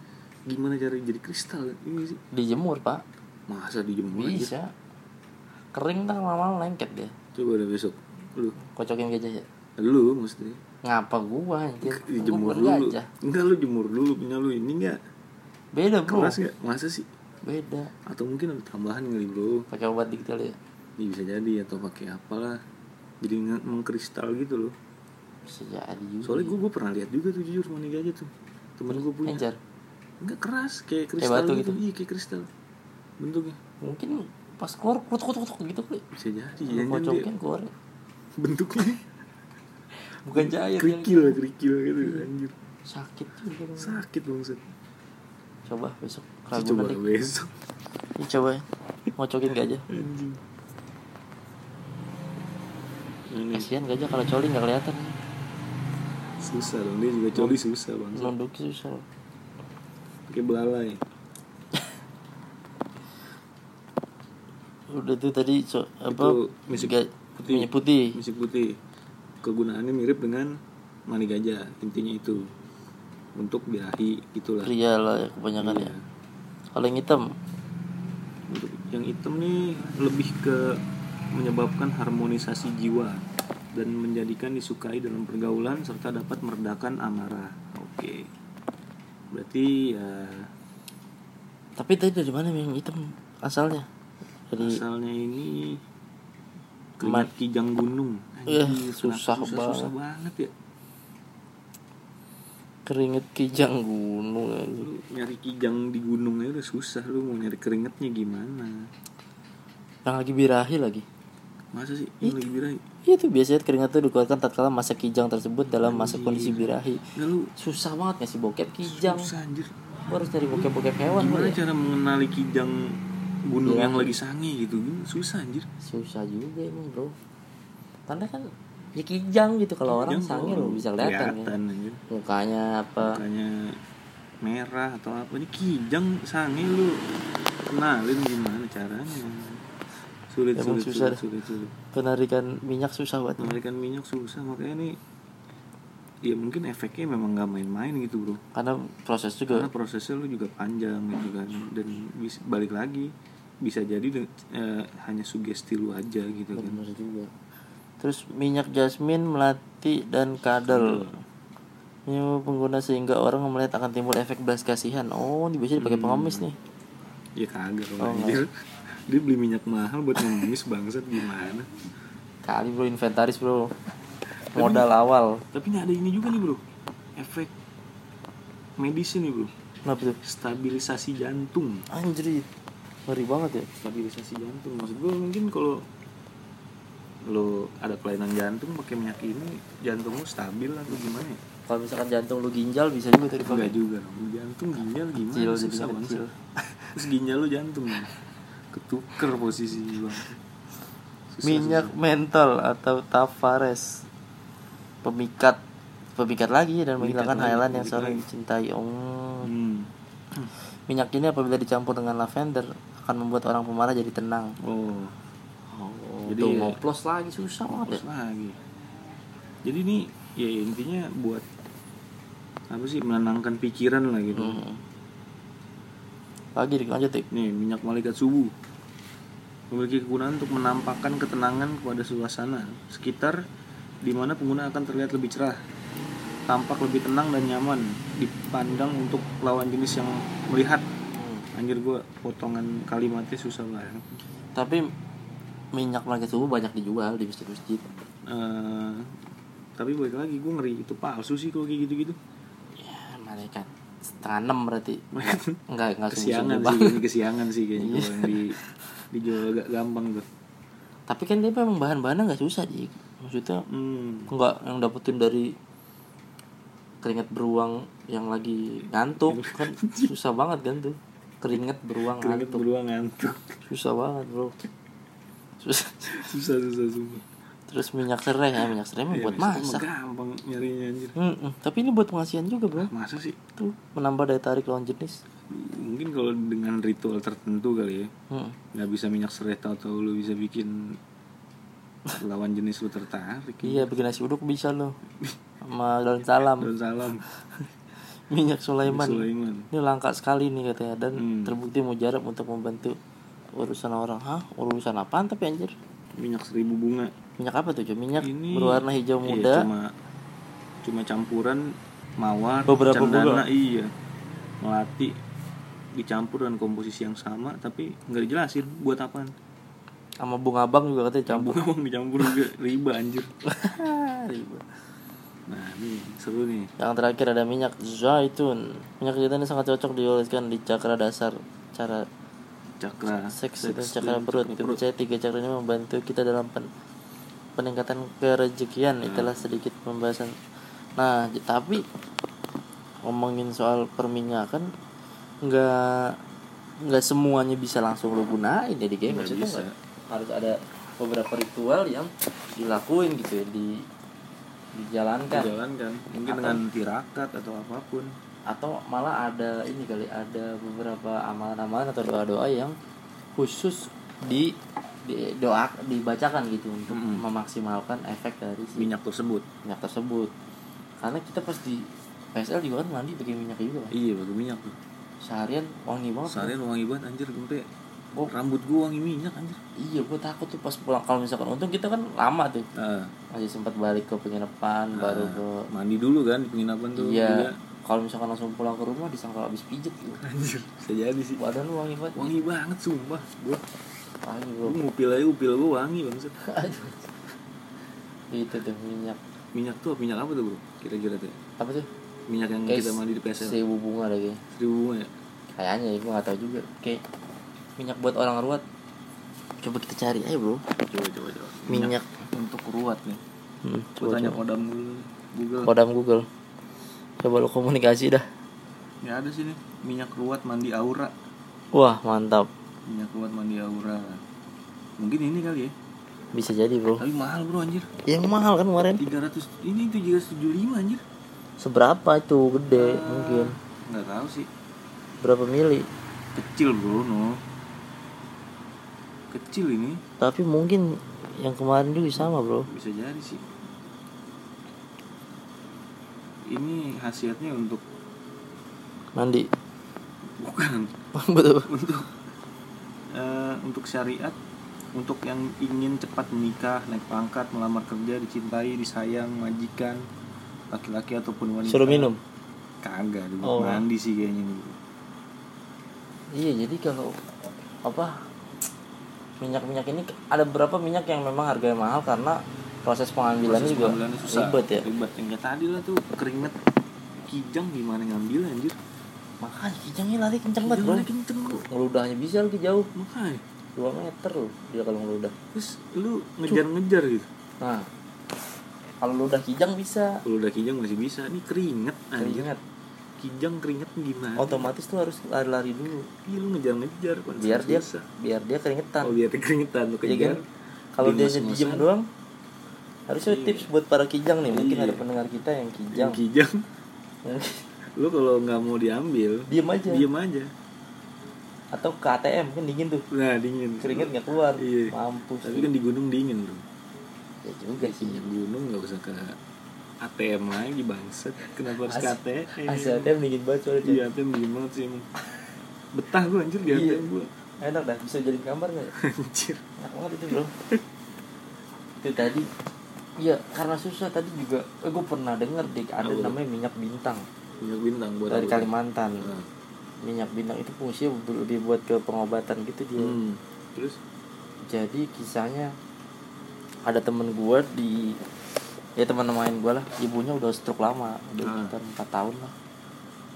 S2: gimana cara jadi kristal ini sih
S1: Dijemur pak
S2: masa dijemur aja
S1: Bisa Kering kan lama-lama lengket deh
S2: coba deh besok lu
S1: Kocokin gajah ya
S2: lu mesti
S1: Ngapa gua anjir Kan gua
S2: dijemur
S1: bukan
S2: dulu
S1: gajah.
S2: enggak lu jemur dulu punya lu ini enggak
S1: Beda bro
S2: keras ya. enggak masa sih
S1: Beda
S2: atau mungkin ada tambahan kali bro
S1: pakai obat dikit kali ya
S2: ini bisa jadi atau pakai apalah jadi nge- mengkristal gitu loh
S1: Bisa jadi juga
S2: soalnya gue pernah lihat juga tuh jujur mani gajah tuh temen gue punya
S1: Encer.
S2: enggak keras kayak kristal
S1: batu
S2: gitu.
S1: gitu.
S2: iya kayak kristal bentuknya
S1: Mungkin pas keluar kutuk-kutuk gitu kali
S2: bisa jadi
S1: Lu
S2: jangan Iya, kan dia
S1: kocokin keluar
S2: bentuknya
S1: Bukan jahit
S2: kerikil kerikil gitu anjir
S1: Sakit juga
S2: sakit bangsat
S1: Coba besok
S2: coba
S1: Ragunan deh
S2: besok
S1: Ini coba ya. Ngocokin gajah
S2: anjing ini
S1: Kasihan gajah kalau coli nggak kelihatan
S2: susah dong dia juga coli susah bangsat
S1: Nunduk susah loh.
S2: pakai belalai
S1: Udah tuh tadi so, apa
S2: Itu misi
S1: ga-
S2: putih.
S1: minyak putih
S2: misi putih kegunaannya mirip dengan mani gajah intinya itu untuk birahi itulah
S1: Pria lah ya, kebanyakan
S2: Iya.
S1: ya Kalau yang hitam
S2: Untuk yang hitam nih lebih ke menyebabkan harmonisasi jiwa dan menjadikan disukai dalam pergaulan serta dapat meredakan amarah. Oke. Berarti ya
S1: Tapi tadi dari mana yang hitam asalnya Dari
S2: asalnya ini
S1: Mat-
S2: keringat kijang gunung.
S1: Eh,
S2: Anjir,
S1: susah
S2: kenapa Susah banget ya.
S1: keringet kijang gunung ya, gitu. anjing.
S2: Lu nyari kijang di gunung aja udah susah lu mau nyari keringetnya gimana?
S1: Yang lagi birahi lagi
S2: Masa sih ini lagi birahi?
S1: Iya tuh biasanya keringat itu dikeluarkan tatkala masa kijang tersebut dalam masa kondisi birahi
S2: Nggak, lu
S1: Susah banget nggak sih bokep kijang
S2: susah anjir.
S1: Gua harus cari bokep-bokep hewan
S2: gimana
S1: kali ya? Iya.
S2: cara mengenali kijang gunung yang lagi sangi gitu Gini, susah anjir
S1: Susah juga emang bro Tanda kan ya kijang gitu Kalau orang sange lo bisa kelihatan ya
S2: kelihatan anjir
S1: Mukanya apa
S2: mukanya merah atau apa ini kijang sangi lu kenalin gimana caranya sulit
S1: Emang
S2: sulit,
S1: susah
S2: sulit sulit sulit
S1: Penarikan minyak susah banget
S2: Menarikan minyak susah makanya nih ya mungkin efeknya memang nggak main-main gitu bro
S1: Karena proses
S2: karena
S1: juga
S2: prosesnya lu juga panjang gitu kan dan bis- balik lagi bisa jadi de- eh, hanya sugesti lu aja gitu kan
S1: Bener juga Terus minyak jasmin, melati, dan kadal Ini pengguna sehingga orang melihat akan timbul efek belas kasihan Oh ini biasanya dipakai pengemis nih
S2: Ya kagak dong anjir. Dia beli minyak mahal buat ngemis bangsat gimana?
S1: Kali bro inventaris bro Modal awal
S2: Tapi nggak ada ini juga nih bro. Efek medis nih bro.
S1: Kenapa tuh?
S2: Stabilisasi jantung.
S1: Anjrit Ngeri banget ya
S2: Stabilisasi jantung maksud gue mungkin kalau lo ada kelainan jantung pakai minyak ini jantung lo stabil atau gimana ya?
S1: Kalau misalkan jantung lu ginjal bisa juga tuh dipakai
S2: Enggak juga dong. Jantung ginjal gimana?
S1: Kecil,
S2: Susah
S1: jadinya
S2: bangsat.
S1: kecil.
S2: Terus ginjal lo jantung ketuker posisi bang. Susah,
S1: Minyak mentol atau tafares Pemikat Pemikat lagi dan
S2: Pemikat
S1: menghilangkan
S2: lagi,
S1: hayalan yang
S2: pemikat
S1: seorang
S2: lagi.
S1: dicintai Oh
S2: susah. Hmm.
S1: Minyak ini apabila dicampur dengan lavender akan membuat orang pemarah jadi tenang.
S2: Oh.
S1: Oh,
S2: Jadi
S1: tuh,
S2: ya-
S1: mau plus lagi susah banget
S2: Terus
S1: ya.
S2: lagi. Jadi ini ya intinya buat apa sih menenangkan pikiran lah gitu.
S1: Hmm. Lagi lanjut ya.
S2: Nih minyak malaikat subuh memiliki kegunaan untuk menampakkan ketenangan kepada suasana sekitar di mana pengguna akan terlihat lebih cerah, tampak lebih tenang dan nyaman dipandang untuk lawan jenis yang melihat. Anjir gua potongan kalimatnya susah banget.
S1: Tapi minyak melangkah subuh banyak dijual di masjid-masjid.
S2: Eh, tapi balik lagi gue ngeri itu palsu sih kalau kayak gitu-gitu.
S1: Ya, malaikat setengah enam berarti. Enggak, enggak subuh-subuh
S2: kesiangan sih
S1: banget.
S2: ini kesiangan sih kayaknya kalau yang di dijual agak gampang tuh
S1: Tapi kan dia memang bahan-bahannya nggak susah, Dik. Maksudnya
S2: hmm.
S1: enggak yang dapetin dari keringat beruang yang lagi ngantuk kan susah banget kan tuh. Keringat beruang
S2: keringet
S1: ngantuk.
S2: beruang ngantuk
S1: Susah banget, Bro. Susah.
S2: susah susah susah
S1: Terus minyak serai ya, minyak serai mah
S2: Ya,
S1: buat
S2: maksudnya mah
S1: masak.
S2: gampang nyarinya anjir
S1: Mm-mm, Tapi ini buat pengasihan juga bro.
S2: masa sih
S1: Tuh menambah daya tarik lawan jenis.
S2: mungkin kalau dengan ritual tertentu kali ya
S1: Mm.
S2: nggak bisa minyak serai atau tau lu bisa bikin lawan jenis lu tertarik
S1: Iya bikin nasi uduk bisa loh. Sama daun salam.
S2: dan salam
S1: minyak Sulaiman.
S2: Sulaiman.
S1: Ini langka sekali nih katanya dan
S2: Hmm.
S1: terbukti mujarab untuk membantu urusan orang. Hah? Urusan apaan tapi anjir?
S2: Minyak seribu bunga.
S1: Minyak apa tuh? Cuk? Minyak
S2: Ini
S1: berwarna hijau
S2: iya,
S1: muda.
S2: cuma cuma campuran mawar,
S1: Beberapa bunga.
S2: cendana, iya. Melati dicampur dengan komposisi yang sama tapi nggak dijelasin buat apaan.
S1: sama bunga abang juga katanya campur.
S2: Bunga bang dicampur juga riba anjir.
S1: Ribet.
S2: Nah, ini seru nih.
S1: Yang terakhir ada minyak zaitun. Minyak zaitun ini sangat cocok dioleskan di cakra dasar. Cara
S2: Cakra
S1: seks dan
S2: seks
S1: cakra perut. gitu. Dipercaya tiga cakra ini membantu kita dalam pen- peningkatan kerejekian. Itulah sedikit pembahasan. Nah, j- tapi ngomongin soal perminyakan nggak nggak semuanya bisa langsung lo gunain jadi game
S2: Nggak
S1: maksudnya
S2: bisa.
S1: nggak- harus ada beberapa ritual yang dilakuin gitu ya di dijalankan
S2: dijalankan kan? mungkin
S1: Atau- Iya.
S2: dengan tirakat atau apapun
S1: atau malah ada ini kali ada beberapa amalan-amalan atau doa-doa yang khusus di, di- doa dibacakan gitu untuk
S2: Mm-mm.
S1: memaksimalkan efek dari si minyak.
S2: minyak tersebut
S1: tersebut karena kita pas di PSL juga kan mandi pakai minyak juga kan.
S2: iya pakai minyak tuh
S1: seharian wangi banget
S2: Oh. seharian wangi banget anjir gempe
S1: Oh.
S2: rambut gua wangi minyak anjir
S1: iya gue takut tuh pas pulang kalau misalkan untung kita kan lama tuh
S2: Ah,
S1: masih sempat balik ke penginapan baru
S2: ah,
S1: ke
S2: mandi dulu kan di penginapan tuh
S1: iya
S2: juga.
S1: kalau misalkan langsung pulang ke rumah disangka habis pijet gitu
S2: anjir bisa jadi sih
S1: badan lu wangi banget
S2: wangi banget sumpah gua
S1: wangi
S2: gua
S1: bro
S2: ngupil aja upil gua wangi banget
S1: Aduh. itu tuh minyak
S2: minyak tuh minyak apa tuh bro kira-kira tuh ya?
S1: apa tuh
S2: minyak yang
S1: Kayak
S2: kita mandi di PSL
S1: seribu bunga lagi
S2: seribu bunga ya
S1: kayaknya ya gue nggak tahu juga kayak minyak buat orang ruwet coba kita cari aja bro
S2: coba coba coba
S1: Minyak.
S2: untuk ruat nih
S1: hmm,
S2: gua
S1: coba,
S2: tanya
S1: coba.
S2: kodam dulu Google
S1: kodam Google coba lu komunikasi dah
S2: ya ada sini minyak ruat mandi aura
S1: wah mantap
S2: minyak ruat mandi aura mungkin ini kali ya
S1: bisa jadi bro
S2: tapi mahal bro anjir
S1: yang mahal kan kemarin
S2: 300 ini 375 anjir
S1: seberapa itu gede Ya, mungkin
S2: nggak tahu sih
S1: berapa mili
S2: kecil bro no kecil ini
S1: tapi mungkin yang kemarin juga sama bro
S2: bisa jadi sih ini khasiatnya untuk
S1: mandi
S2: bukan
S1: betul
S2: untuk eh, untuk syariat untuk yang ingin cepat menikah naik pangkat melamar kerja dicintai disayang majikan laki-laki ataupun wanita
S1: suruh minum
S2: kagak dibuat
S1: Oh.
S2: mandi sih kayaknya nih bro.
S1: Iya, jadi kalau apa minyak-minyak ini ada beberapa minyak yang memang harganya mahal karena proses pengambilannya
S2: Proses
S1: juga
S2: pengambilannya susah
S1: ribet ya.
S2: ribet yang kayak tadi lah tuh keringet kijang gimana ngambil anjir
S1: Makanya kijangnya lari kenceng banget,
S2: kijang
S1: bro.
S2: lagi kenceng bro
S1: Ngeludahnya bisa lagi jauh,
S2: makanya
S1: 2 meter loh dia kalau ngeludah.
S2: terus lu ngejar-ngejar gitu
S1: Nah, kalau ludah kijang bisa
S2: kalau udah kijang masih bisa ini keringet anjir
S1: keringet. Oh,
S2: kijang keringet gimana
S1: Otomatis tuh harus lari-lari dulu
S2: Iya, lu ngejar-ngejar kan
S1: biar dia
S2: susah.
S1: biar dia
S2: Oh
S1: keringetan.
S2: biar keringetan lu
S1: Iya
S2: kejar.
S1: kan? Kalau dia
S2: Dimas-masan.
S1: diem doang harusnya
S2: Iya.
S1: tips buat para kijang nih, mungkin
S2: Iya.
S1: ada pendengar kita yang
S2: Yang
S1: kijang.
S2: kijang, lu kalau nggak mau diambil,
S1: Diem aja.
S2: diem aja.
S1: atau ke ATM kan dingin tuh
S2: Nah dingin.
S1: keringet nggak keluar
S2: Iya.
S1: mampus
S2: Tapi kan Iya. di gunung dingin bro.
S1: ya juga sih
S2: Di gunung nggak usah ke ATM lagi bangset. Kenapa harus ke
S1: As-
S2: ATM?
S1: Asia ATM dingin banget soalnya Cek.
S2: Iya ATM dingin banget sih emang. Betah gua anjir di
S1: Iya.
S2: ATM gua.
S1: enak dah bisa jadi gambar nggak ya?
S2: Anjir.
S1: enak banget itu bro itu tadi Iya, karena susah tadi juga eh, gue pernah denger dik ada
S2: Apa?
S1: namanya minyak bintang Iya.
S2: Minyak bintang buat
S1: dari
S2: apa?
S1: Kalimantan
S2: Nah.
S1: minyak bintang itu fungsinya bu- lebih buat ke pengobatan gitu dia
S2: Hmm. Terus?
S1: jadi kisahnya ada temen gue di ya teman main gue lah ibunya udah stroke lama udah
S2: Ah.
S1: sekitar empat tahun lah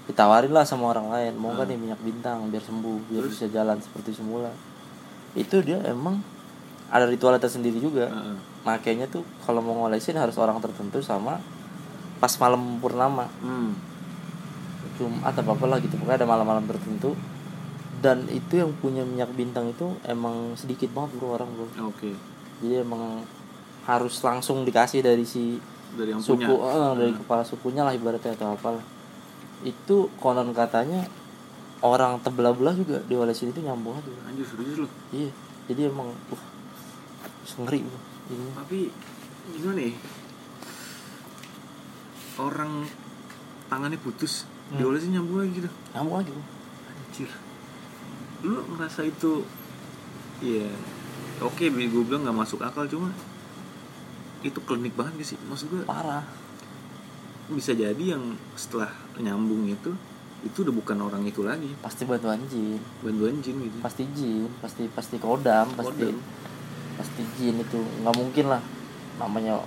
S1: ditawarin lah sama orang lain mau nggak
S2: Ah.
S1: nih minyak bintang biar sembuh biar
S2: Terus?
S1: bisa jalan seperti semula itu dia emang ada ritual tersendiri juga
S2: Heeh.
S1: makanya tuh kalau mau ngolesin harus orang tertentu sama pas malam purnama
S2: Hmm.
S1: Jumat apa apa lah gitu pokoknya ada malam-malam tertentu dan itu yang punya minyak bintang itu emang sedikit banget bro orang bro
S2: Oke.
S1: jadi emang harus langsung dikasih dari si
S2: Dari yang
S1: suku
S2: punya. Hmm.
S1: eh, dari kepala sukunya lah ibaratnya atau apalah itu konon katanya orang tebelah belah juga diolesin itu nyambung aja
S2: Ah. Anjir serius lu.
S1: iya jadi emang uh, ngeri bro. Jadinya.
S2: tapi gimana ya orang tangannya putus
S1: Hmm.
S2: diolesin nyambung lagi gitu
S1: Nyambung lagi.
S2: anjir lu ngerasa itu ya oke bi- gue bilang nggak masuk akal cuma itu klinik banget gak sih maksud gue
S1: Parah.
S2: bisa jadi yang setelah nyambung itu itu udah bukan orang itu lagi
S1: Pasti bantuan jin.
S2: bantuan jin gitu
S1: Pasti jin, pasti pasti kodam, pasti
S2: Kodam.
S1: pasti jin itu nggak mungkin lah namanya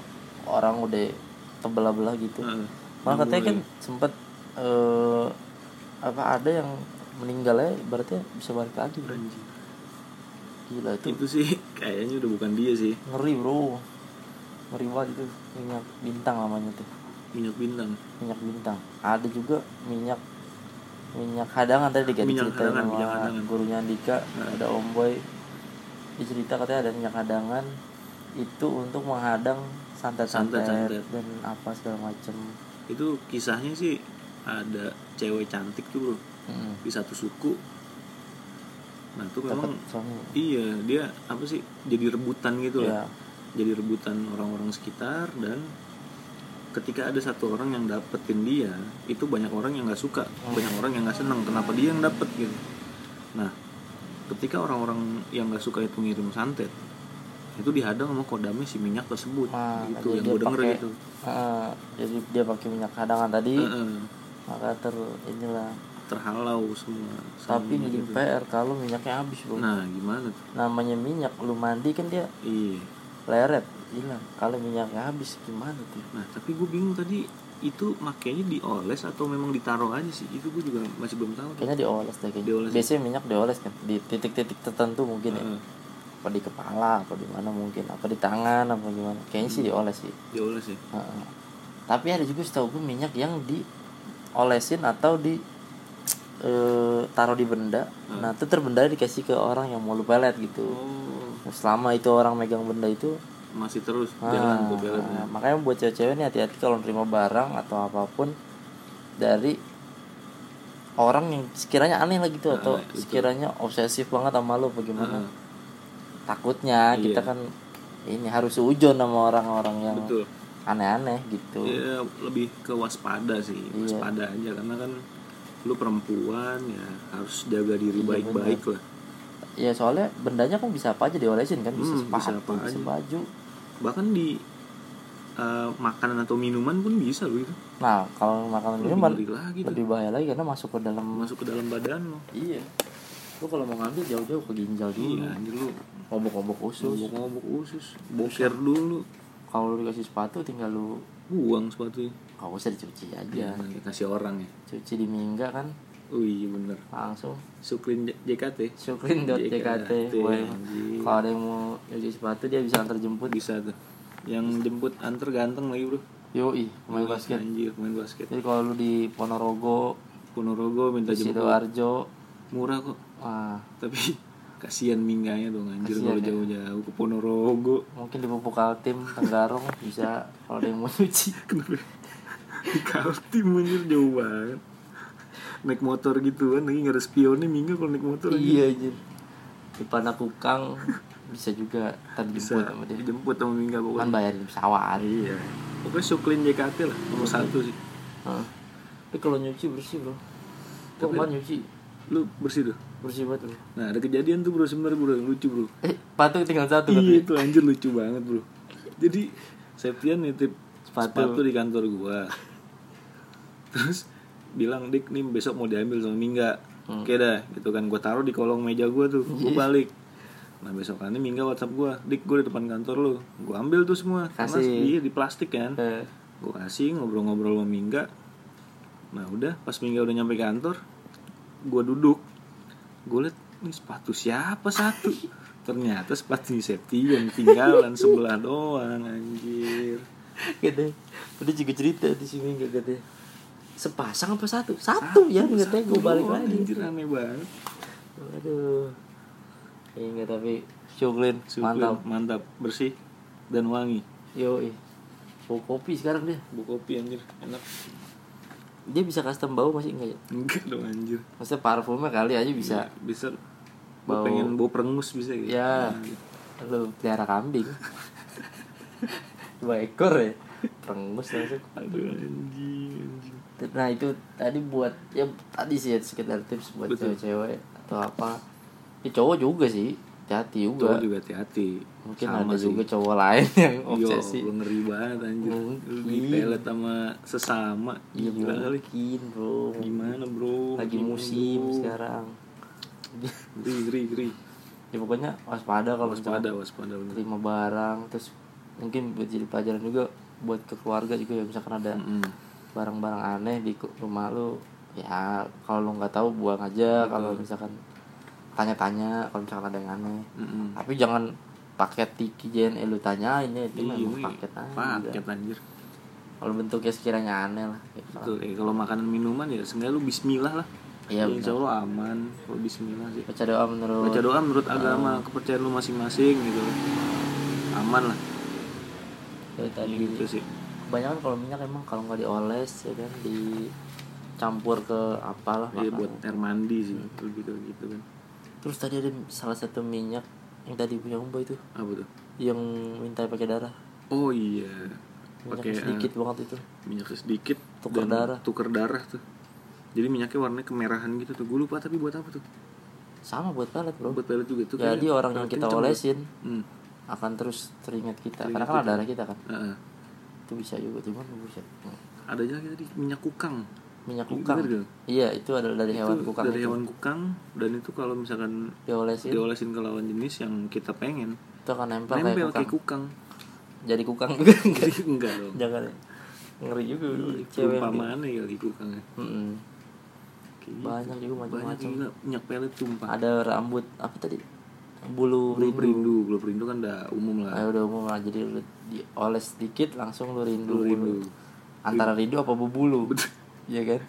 S1: orang udah tebelah-belah gitu.
S2: Heeh.
S1: Malah katanya kan
S2: Nyambung
S1: sempet eh, apa ada yang meninggalnya berarti bisa balik lagi
S2: lagi.
S1: bro.
S2: Anjing.
S1: Gila itu
S2: itu sih kayaknya udah bukan dia sih
S1: ngeri bro. Ngeri banget itu minyak bintang namanya tuh.
S2: minyak bintang
S1: Minyak bintang. Ada juga minyak minyak hadangan tadi diganti
S2: Minyak
S1: cerita
S2: hadangan, minyak
S1: sama
S2: hadangan.
S1: gurunya Andika
S2: Nah.
S1: ada Om Boy dia cerita katanya ada minyak hadangan itu untuk menghadang santet-santet
S2: Santet-santet.
S1: dan apa segala macem
S2: itu kisahnya sih ada cewek cantik tuh bro
S1: Mm.
S2: di satu suku nah itu
S1: dapat
S2: memang
S1: suami
S2: iya dia apa sih jadi rebutan gitu
S1: Iya.
S2: lah jadi rebutan orang-orang sekitar dan ketika ada satu orang yang dapetin dia itu banyak orang yang nggak suka
S1: Hmm.
S2: banyak orang yang nggak seneng kenapa dia yang dapet gitu nah ketika orang-orang yang nggak suka itu ngirim santet itu dihadang sama kodamnya si minyak tersebut
S1: Nah,
S2: gitu
S1: jadi
S2: yang
S1: dia
S2: gue denger
S1: pakai-
S2: gitu
S1: Heeh, Ah, jadi dia pakai minyak hadangan tadi
S2: Heeh.
S1: maka ter inilah
S2: Iya, terhalau semua
S1: tapi
S2: sama
S1: jadi
S2: gitu.
S1: PR kalau minyaknya habis bro
S2: nah gimana tuh
S1: namanya minyak lu mandi kan dia
S2: iya
S1: leret hilang kalau minyaknya habis gimana tuh
S2: Nah, tapi gue bingung tadi itu makanya dioles atau memang ditaruh aja sih? Itu gue juga masih belum tahu. tuh.
S1: kayaknya dioles deh kayaknya
S2: Dioles.
S1: biasanya minyak dioles kan di titik-titik tertentu mungkin ya
S2: Heeh,
S1: apa di kepala apa di mana mungkin apa di tangan apa gimana kayaknya sih dioles sih
S2: dioles ya.
S1: Heeh. tapi ada juga setahu gue minyak yang diolesin atau di eh, taruh di benda
S2: Hmm.
S1: nah itu terbenda dikasih ke orang yang mau lu pelet gitu
S2: Oh,
S1: selama itu orang megang benda itu
S2: masih terus
S1: ah,
S2: jalan gue beletnya.
S1: makanya buat cewek-cewek nih hati-hati kalau nerima barang atau apapun dari orang yang sekiranya aneh lah gitu atau
S2: betul.
S1: sekiranya obsesif banget sama lu bagaimana
S2: Ah.
S1: takutnya kita
S2: Iya.
S1: kan ini harus seujon sama orang-orang yang
S2: Betul.
S1: aneh-aneh gitu
S2: Ya lebih ke waspada sih,
S1: Iya.
S2: waspada aja karena kan lu perempuan ya harus jaga diri
S1: Iya,
S2: baik-baik lah.
S1: ya soalnya bendanya kan bisa apa aja diolesin kan bisa
S2: Hmm, bisa
S1: sepatu
S2: apa
S1: bisa,
S2: aja.
S1: baju
S2: Bahkan di eh, makanan atau minuman pun bisa lu itu.
S1: nah kalau makanan
S2: Lebih
S1: minuman
S2: ngeri lagi tuh.
S1: lebih bahaya lagi karena masuk ke dalam
S2: Masuk ke dalam badan lu.
S1: iya lu kalau mau ngambil jauh-jauh ke ginjal dulu
S2: Iya, anjir lu
S1: obok-obok usus
S2: ngobok-ngobok usus, boker dulu,
S1: kalau lu dikasih sepatu tinggal lu
S2: buang sepatunya.
S1: gak usah dicuci
S2: Ya,
S1: aja
S2: kasih orang ya.
S1: cuci di mingga kan
S2: Oh iya bener
S1: langsung
S2: Suklin J- JKT Iya,
S1: syukrin.jkt boleh
S2: anjir.
S1: kalau ada yang mau nyuci sepatu dia bisa antar jemput
S2: Bisa tuh Yang jemput antar ganteng lagi bro
S1: yoi
S2: Iya.
S1: pemain basket
S2: Anjir main basket
S1: jadi kalau lu di Ponorogo
S2: Ponorogo minta
S1: di
S2: jemput
S1: Sidoarjo
S2: Murah kok
S1: ah,
S2: Tapi kasihan mingganya dong anjir
S1: Kasihan
S2: Kalau
S1: ya.
S2: jauh-jauh ke Ponorogo
S1: mungkin di pupuk Altim Tenggarong bisa kalau ada yang mau nyuci
S2: Kenapa Di Kaltim anjir jauh banget Naik motor gitu kan Lagi gak ada spionnya minggu kalau naik motor anjir.
S1: iya anjir di Panakukang bisa juga
S2: Bisa
S1: terjemput sama dia
S2: dijemput sama minggu
S1: kan
S2: pokoknya
S1: bayarin pesawat
S2: Iya Pokoknya Suklin JKT lah Nomor
S1: Iya.
S2: satu sih
S1: Heeh. Tapi kalau nyuci bersih bro Kok kemarin nyuci
S2: Lu bersih tuh
S1: bersih banget bro
S2: Nah ada kejadian tuh bro sebenarnya bro yang lucu bro
S1: Eh patung tinggal satu
S2: Iya
S1: katanya.
S2: itu anjir lucu banget bro Jadi Septian nitip
S1: Sepatu.
S2: sepatu. di kantor gua Terus bilang dik nih besok mau diambil sama Mingga
S1: Hmm.
S2: Oke dah gitu kan gua taruh di kolong meja gua tuh
S1: Iya.
S2: Gua balik Nah besokannya Mingga whatsapp gua Dik gua di depan kantor lu Gua ambil tuh semua Karena
S1: Kasih.
S2: iya, di plastik kan
S1: Eh,
S2: gue kasih ngobrol-ngobrol sama Mingga nah udah pas Mingga udah nyampe kantor gue duduk gue liat ini sepatu siapa satu ternyata sepatu Septian tinggalan sebelah doang anjir
S1: Gitu Udah juga cerita di sini gak katanya Sepasang apa satu? Satu, ya katanya gue
S2: Satu
S1: balik
S2: doang,
S1: lagi
S2: anjir aneh banget
S1: Aduh Ingat tapi Syuklin
S2: Suklin,
S1: mantap
S2: mantap bersih dan wangi
S1: Yoi Bau kopi sekarang dia
S2: bu kopi anjir enak
S1: Dia bisa custom bau masih enggak ya?
S2: enggak dong anjir
S1: Maksudnya parfumnya kali aja bisa
S2: bisa
S1: Bau- Iya.
S2: Gua pengen bau perengus bisa gitu
S1: Ya Lu pelihara kambing Dua ekor ya Perengus langsung.
S2: Aduh anjing, anjing.
S1: Nah itu tadi buat ya tadi sih ya sekedar tips buat
S2: Betul.
S1: cewek-cewek atau apa. Ya cowok juga sih, hati
S2: Cowok
S1: juga.
S2: juga hati-hati.
S1: Mungkin
S2: Sama
S1: ada
S2: sih.
S1: juga cowok lain yang
S2: Yo,
S1: obsesi.
S2: lu ngeri banget anjir. Lu
S1: Mungkin.
S2: dipelet sama sesama.
S1: Iya
S2: Gila kali.
S1: mungkin bro.
S2: Gimana, Bro?
S1: Lagi
S2: Gimana,
S1: musim
S2: bro?
S1: sekarang.
S2: Ngeri, ngeri, ngeri.
S1: ya pokoknya waspada kalau
S2: Waspada, waspada bener.
S1: terima barang terus mungkin buat jadi pelajaran juga buat ke keluarga juga ya misalkan ada
S2: Mm-mm.
S1: barang-barang aneh di ku- rumah lu ya kalau lu nggak tahu buang aja kalau misalkan tanya-tanya kalau misalkan ada yang aneh
S2: Mm-mm.
S1: tapi jangan paket tiki JNE lu tanyain ya itu
S2: Iya,
S1: memang
S2: ini
S1: paket aja Nah.
S2: Paket anjir.
S1: kalau bentuknya sekiranya aneh lah kayak gitu.
S2: Betul, eh, kalau makanan minuman ya seenggaknya lu bismillah lah.
S1: Iya, Oh.
S2: Ya, insya Allah aman kalau bismillah sih.
S1: baca doa menurut
S2: Baca doa menurut
S1: Oh.
S2: agama kepercayaan lu masing-masing gitu. Aman lah
S1: dari tadi
S2: gitu sih.
S1: kebanyakan kalau minyak emang kalau nggak dioles ya kan dicampur ke apalah
S2: Iya
S1: makanan.
S2: buat air mandi sih gitu gitu kan.
S1: terus tadi ada salah satu minyak yang tadi punya umbo itu
S2: Apa tuh?
S1: yang minta pakai darah
S2: Oh iya.
S1: minyak
S2: Pakai
S1: sedikit
S2: eh,
S1: banget itu
S2: minyak sedikit
S1: Tuker
S2: dan
S1: darah.
S2: Tuker darah tuh. Jadi minyaknya warnanya kemerahan gitu tuh. Gue lupa tapi buat apa tuh?
S1: sama buat pelet bro
S2: Buat pelet juga tuh.
S1: jadi
S2: kayaknya
S1: orang yang
S2: pelet
S1: kita
S2: kenceng banget.
S1: olesin
S2: Hmm.
S1: akan terus teringat kita karena
S2: Teringat
S1: kan ada
S2: kita.
S1: darah kita kan
S2: Heeh.
S1: itu bisa juga cuman buset
S2: Ada aja lagi tadi minyak kukang.
S1: minyak
S2: Ini
S1: kukang
S2: Oh, bener gak?
S1: iya itu adalah dari hewan
S2: Itu
S1: kukang
S2: dari
S1: itu
S2: hewan kukang dan itu kalau misalkan
S1: diolesin
S2: diolesin ke lawan jenis yang kita pengen
S1: itu akan nempel,
S2: nempel
S1: kayak
S2: kayak
S1: kukang
S2: kukang
S1: jadi kukang juga
S2: jadi enggak dong
S1: jangan ya. ngeri juga bro. cewek yang gitu.
S2: perumpamaan ya kali kukang
S1: Mm-mm.
S2: Kayak gitu.
S1: Banyak juga
S2: Iya. banyak
S1: macam-macam.
S2: juga minyak pelet tumpah
S1: ada rambut apa tadi bulu
S2: belum
S1: rindu
S2: rindu belum rindu kan udah umum lah
S1: Ayo udah umum lah jadi lu dioles sedikit langsung lu rindu,
S2: Lu rindu.
S1: antara rindu apa bubulu Iya kan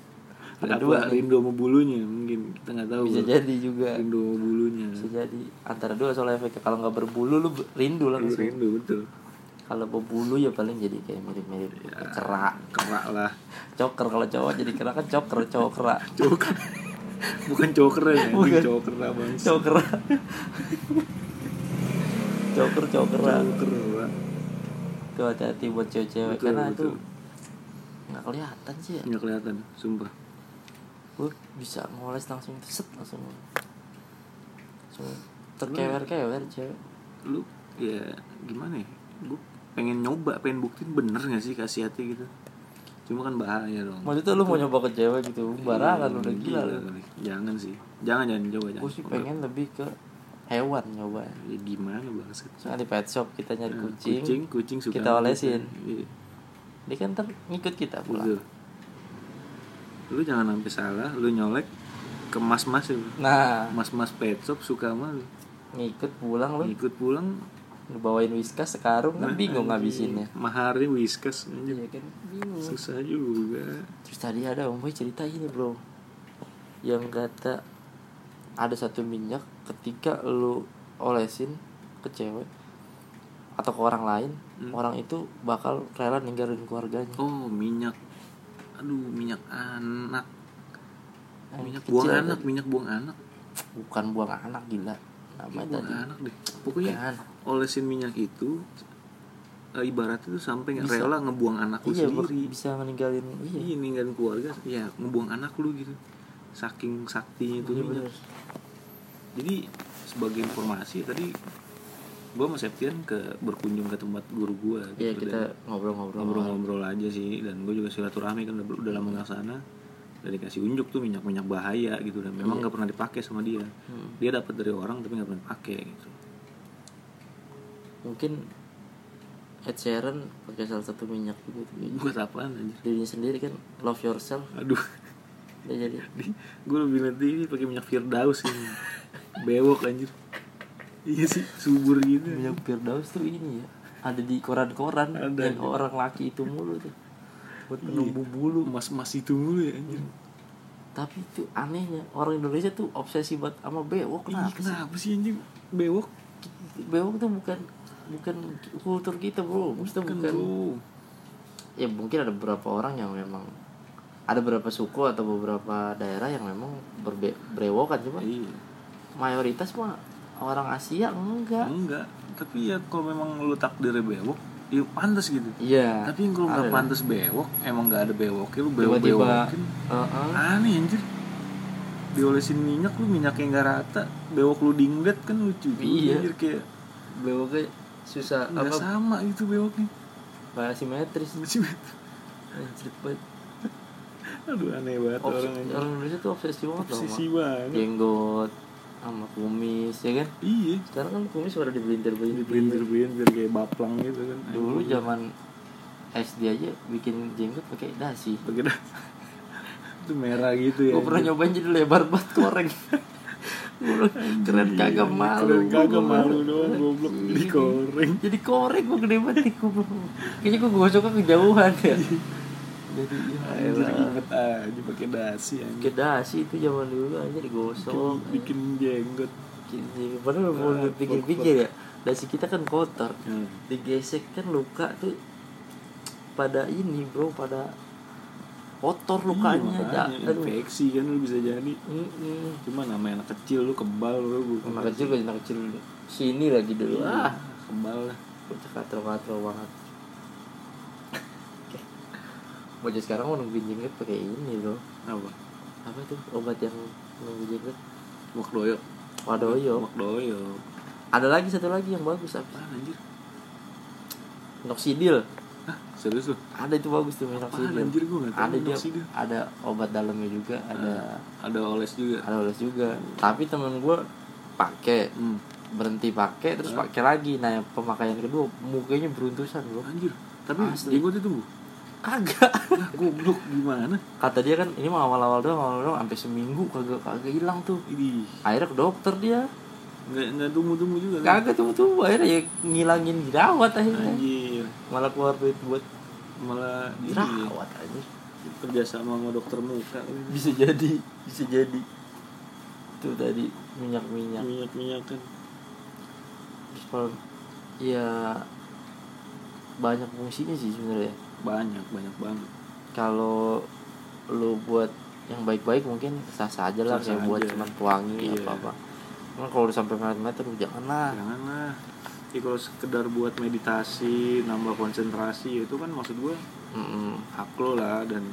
S2: ada dua rindu sama bulunya mungkin kita nggak tahu
S1: bisa
S2: bro.
S1: jadi juga
S2: rindu sama bulunya
S1: bisa jadi antara dua soal efeknya kalau nggak berbulu lu be- rindu lah
S2: Lu
S1: langsung.
S2: rindu betul
S1: kalau berbulu ya paling jadi kayak mirip-mirip
S2: Ya.
S1: kerak
S2: kerak lah
S1: coker kalau cowok jadi kerak kan coker cowok kerak
S2: cowok bukan cowok keren ya
S1: Bukan.
S2: cowok keren bang
S1: cowok kerak coker cowok kerak
S2: cowok keren Pak.
S1: tuh hati-hati buat cewek-cewek
S2: Betul,
S1: karena
S2: betul.
S1: itu nggak kelihatan sih ya
S2: nggak kelihatan sumpah
S1: gue bisa ngoles langsung set langsung langsung terkewer-kewer cewek
S2: lu ya gimana ya gue pengen nyoba pengen buktiin bener gak sih kasih hati gitu cuma kan bahaya dong Iya,
S1: maksudnya lu mau nyoba ke cewek gitu barangan lu udah gila lu
S2: kali. jangan sih jangan jangan coba jangan
S1: gue sih pengen lebih ke hewan nyoba
S2: ya, gimana bangset
S1: soalnya di pet shop kita nyari
S2: Nah,
S1: Hmm, kucing,
S2: kucing kucing suka
S1: kita olesin
S2: Iya,
S1: dia kan ntar ngikut kita
S2: betul
S1: pulang
S2: lu jangan sampai salah lu nyolek ke mas mas ya
S1: nah
S2: mas mas pet shop suka sama lu
S1: ngikut pulang lu
S2: ikut pulang
S1: lu
S2: Nah, iya.
S1: bawain whiskas sekarung kan bingung ngabisinnya
S2: mahari whiskas anjir.
S1: iya kan bingung
S2: susah juga
S1: Terus tadi ada Om Boy cerita ini bro Yang kata Ada satu minyak ketika lu olesin ke cewek Atau ke orang lain Orang itu bakal rela ninggalin keluarganya
S2: Oh minyak Aduh minyak anak
S1: Yang
S2: Oh, Minyak
S1: kecil
S2: buang
S1: ada.
S2: anak Minyak buang anak
S1: Bukan buang anak gila Namanya
S2: Iya, Buang
S1: tadi
S2: anak Oh, iya. deh Pokoknya
S1: Bukan.
S2: olesin minyak itu eh, Ibaratnya tuh sampai nggak
S1: Bisa.
S2: rela ngebuang anak lu
S1: Iya bak-
S2: sendiri
S1: bisa ninggalin Iya,
S2: Iya ninggalin keluarga Ya ngebuang anak lu gitu Saking saktinya itu
S1: iya
S2: minyak
S1: bener
S2: Jadi sebagai informasi tadi Gue sama Septian ke, berkunjung ke tempat guru gue
S1: Iya kita ngobrol-ngobrol
S2: ngobrol-ngobrol aja sih dan gue juga silaturahmi kan udah, udah lama nggak sana udah dikasih unjuk tuh minyak minyak bahaya gitu dan
S1: Iya.
S2: memang nggak pernah dipakai sama dia
S1: Hmm.
S2: dia dapat dari orang tapi nggak pernah pakai gitu
S1: Mungkin Ed Sheeran pakai salah satu minyak gitu
S2: buat apaan anjir
S1: Dirinya sendiri kan Love yourself
S2: aduh
S1: Dia jadi
S2: gue lebih nanti ini pakai minyak firdaus ini bewok anjir iya sih subur gitu
S1: Minyak Firdaus tuh ini ya ada di koran-koran
S2: Ada. Iya.
S1: yang orang laki itu mulu tuh buat penumbuh bulu
S2: mas mas itu mulu ya
S1: Iya,
S2: anjir
S1: tapi itu anehnya orang Indonesia tuh obsesi buat sama bewok
S2: Ih,
S1: nah
S2: kenapa sih anjing bewok
S1: bewok tuh bukan bukan kultur kita bro Maksudnya
S2: kan
S1: bukan
S2: bro
S1: ya mungkin ada beberapa orang yang memang ada beberapa suku atau beberapa daerah yang memang berbe berewokan cuma
S2: iya
S1: mayoritas mah orang Asia enggak
S2: Hmm. ya enggak tapi ya kalau memang lu takdirnya bewok ya pantas gitu
S1: Iya.
S2: tapi yang kalau nggak
S1: ada.
S2: pantas bewok emang nggak ada bewoknya lu bewok
S1: tiba-tiba
S2: bewokin
S1: Heeh.
S2: aneh anjir diolesin minyak lu minyaknya nggak rata bewok lu dinglet kan lucu juga,
S1: Iya.
S2: anjir kayak
S1: bewoknya susah apa
S2: nggak sama itu bewoknya
S1: nggak simetris Anjir banget.
S2: aduh aneh banget
S1: Obses-
S2: orang anjir
S1: orang Indonesia tuh obsesi banget loh
S2: obsesi
S1: sama
S2: banget
S1: jenggot sama kumis ya kan
S2: iya
S1: sekarang kan kumis udah dibelintir-belintir
S2: dibelintir-belintir kayak baplang gitu kan
S1: dulu zaman SD aja bikin jenggot pakai dasi
S2: Begitu. itu merah gitu ya
S1: gue pernah nyobain jadi lebar banget koreng Gua bilang, keren
S2: Iya,
S1: kagak malu
S2: keren
S1: gua
S2: kagak
S1: bilang.
S2: malu doang, goblok.
S1: Iya,
S2: Jadi koreng.
S1: jadi koreng gue gede banget nih, gua bilang. kayaknya gue gosoknya kejauhan ya jadi ya
S2: Anjir
S1: elah.
S2: inget aja ah, pakai dasi anjir
S1: Pakai dasi itu zaman dulu aja digosok
S2: Bikin- bikin jenggot
S1: Gini, padahal mau
S2: Ah,
S1: dipikir-pikir ya dasi kita kan kotor digesek kan luka tuh pada ini bro pada kotor lukanya
S2: Iya,
S1: ya,
S2: makanya.
S1: aduh
S2: infeksi kan lu bisa jadi
S1: Mm-mm.
S2: cuma nama anak kecil lu kebal lu bukan
S1: anak kecil kan anak kecil sini lagi dulu ah
S2: kebal lah
S1: bocah katro katro banget Oke. bocah sekarang mau nungguin jenggot pakai ini loh
S2: apa
S1: apa tuh obat yang nunggu jenggot
S2: wak doyok
S1: wadoyo
S2: wak doyok
S1: ada lagi satu lagi yang bagus apa
S2: apaan anjir
S1: noxidil
S2: Hah, serius lu
S1: ada itu bagus tuh
S2: apaan
S1: minoxidil
S2: anjir gua nggak tahu
S1: ada dia
S2: Minoxidil. Ah.
S1: ada obat dalamnya juga ada
S2: ada oles juga
S1: ada oles juga tapi temen gue pakai
S2: hmm.
S1: berhenti pakai
S2: Ah.
S1: terus pakai lagi nah yang pemakaian kedua mukanya beruntusan bro
S2: anjir tapi
S1: Asli.
S2: jenggot itu bu
S1: kagak
S2: lah goblok gimana
S1: kata dia kan ini mah awal-awal doang awal doang sampai seminggu kagak kagak hilang tuh
S2: ini
S1: akhirnya ke dokter dia
S2: nggak nggak tumbuh tumbuh juga kan
S1: kagak tuh tuh akhirnya ya ngilangin jerawat akhirnya
S2: anjir Iya.
S1: malah keluar duit buat
S2: malah ini
S1: jerawat aja
S2: kerjasama sama dokter muka
S1: bisa jadi bisa jadi tuh tadi minyak minyak
S2: minyak minyakan
S1: terus kalau ya banyak fungsinya sih sebenarnya
S2: banyak banyak banget
S1: kalau lu buat yang baik-baik mungkin sah sah aja lah
S2: Sah-sah
S1: kayak buat
S2: aja.
S1: cuman pewangi
S2: Iya.
S1: apa apa cuman kalau udah sampai meter-meter jangan lah
S2: jangan lah ya kalau sekedar buat meditasi nambah konsentrasi itu kan maksud gue
S1: Mm-mm.
S2: hak lo lah dan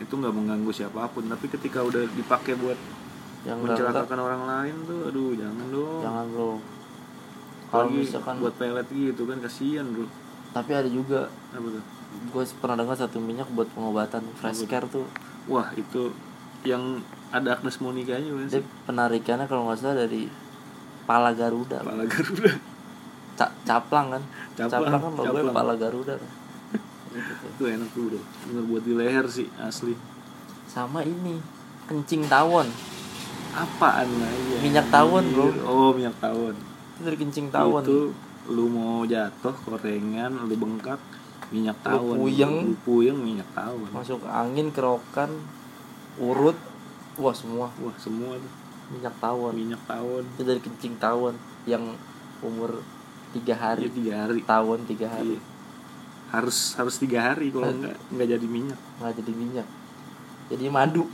S2: itu nggak mengganggu siapapun tapi ketika udah dipakai buat
S1: yang enggak
S2: mencelakakan orang lain tuh aduh jangan dong
S1: jangan bro kalau
S2: Apalagi
S1: misalkan
S2: buat pelet gitu kan kasihan bro
S1: tapi ada juga
S2: apa tuh
S1: gue pernah dengar satu minyak buat pengobatan fresh care tuh
S2: wah itu yang ada Agnes Monica nya
S1: dia
S2: kan
S1: penarikannya kalau nggak salah dari pala garuda
S2: kepala Garuda
S1: Ca- caplang kan
S2: Caplang,
S1: caplang, kan logonya
S2: caplang.
S1: pala garuda kan. Gitu tuh.
S2: itu enak tuh bro bener buat di leher sih asli
S1: sama ini kencing tawon
S2: apaan lah ya
S1: Minyak tawon, bro.
S2: oh minyak tawon
S1: itu dari kencing tawon
S2: itu lu mau jatuh korengan lu bengkak minyak tawon
S1: puyeng.
S2: lu puyeng minyak tawon
S1: masuk angin kerokan urut wah semua
S2: wah semua tuh
S1: minyak tawon
S2: minyak tawon
S1: itu dari kencing tawon yang umur tiga
S2: ya
S1: hari
S2: tiga hari
S1: tawon tiga hari
S2: Iya. harus harus tiga hari kalau nggak nggak jadi minyak
S1: nggak jadi minyak jadi madu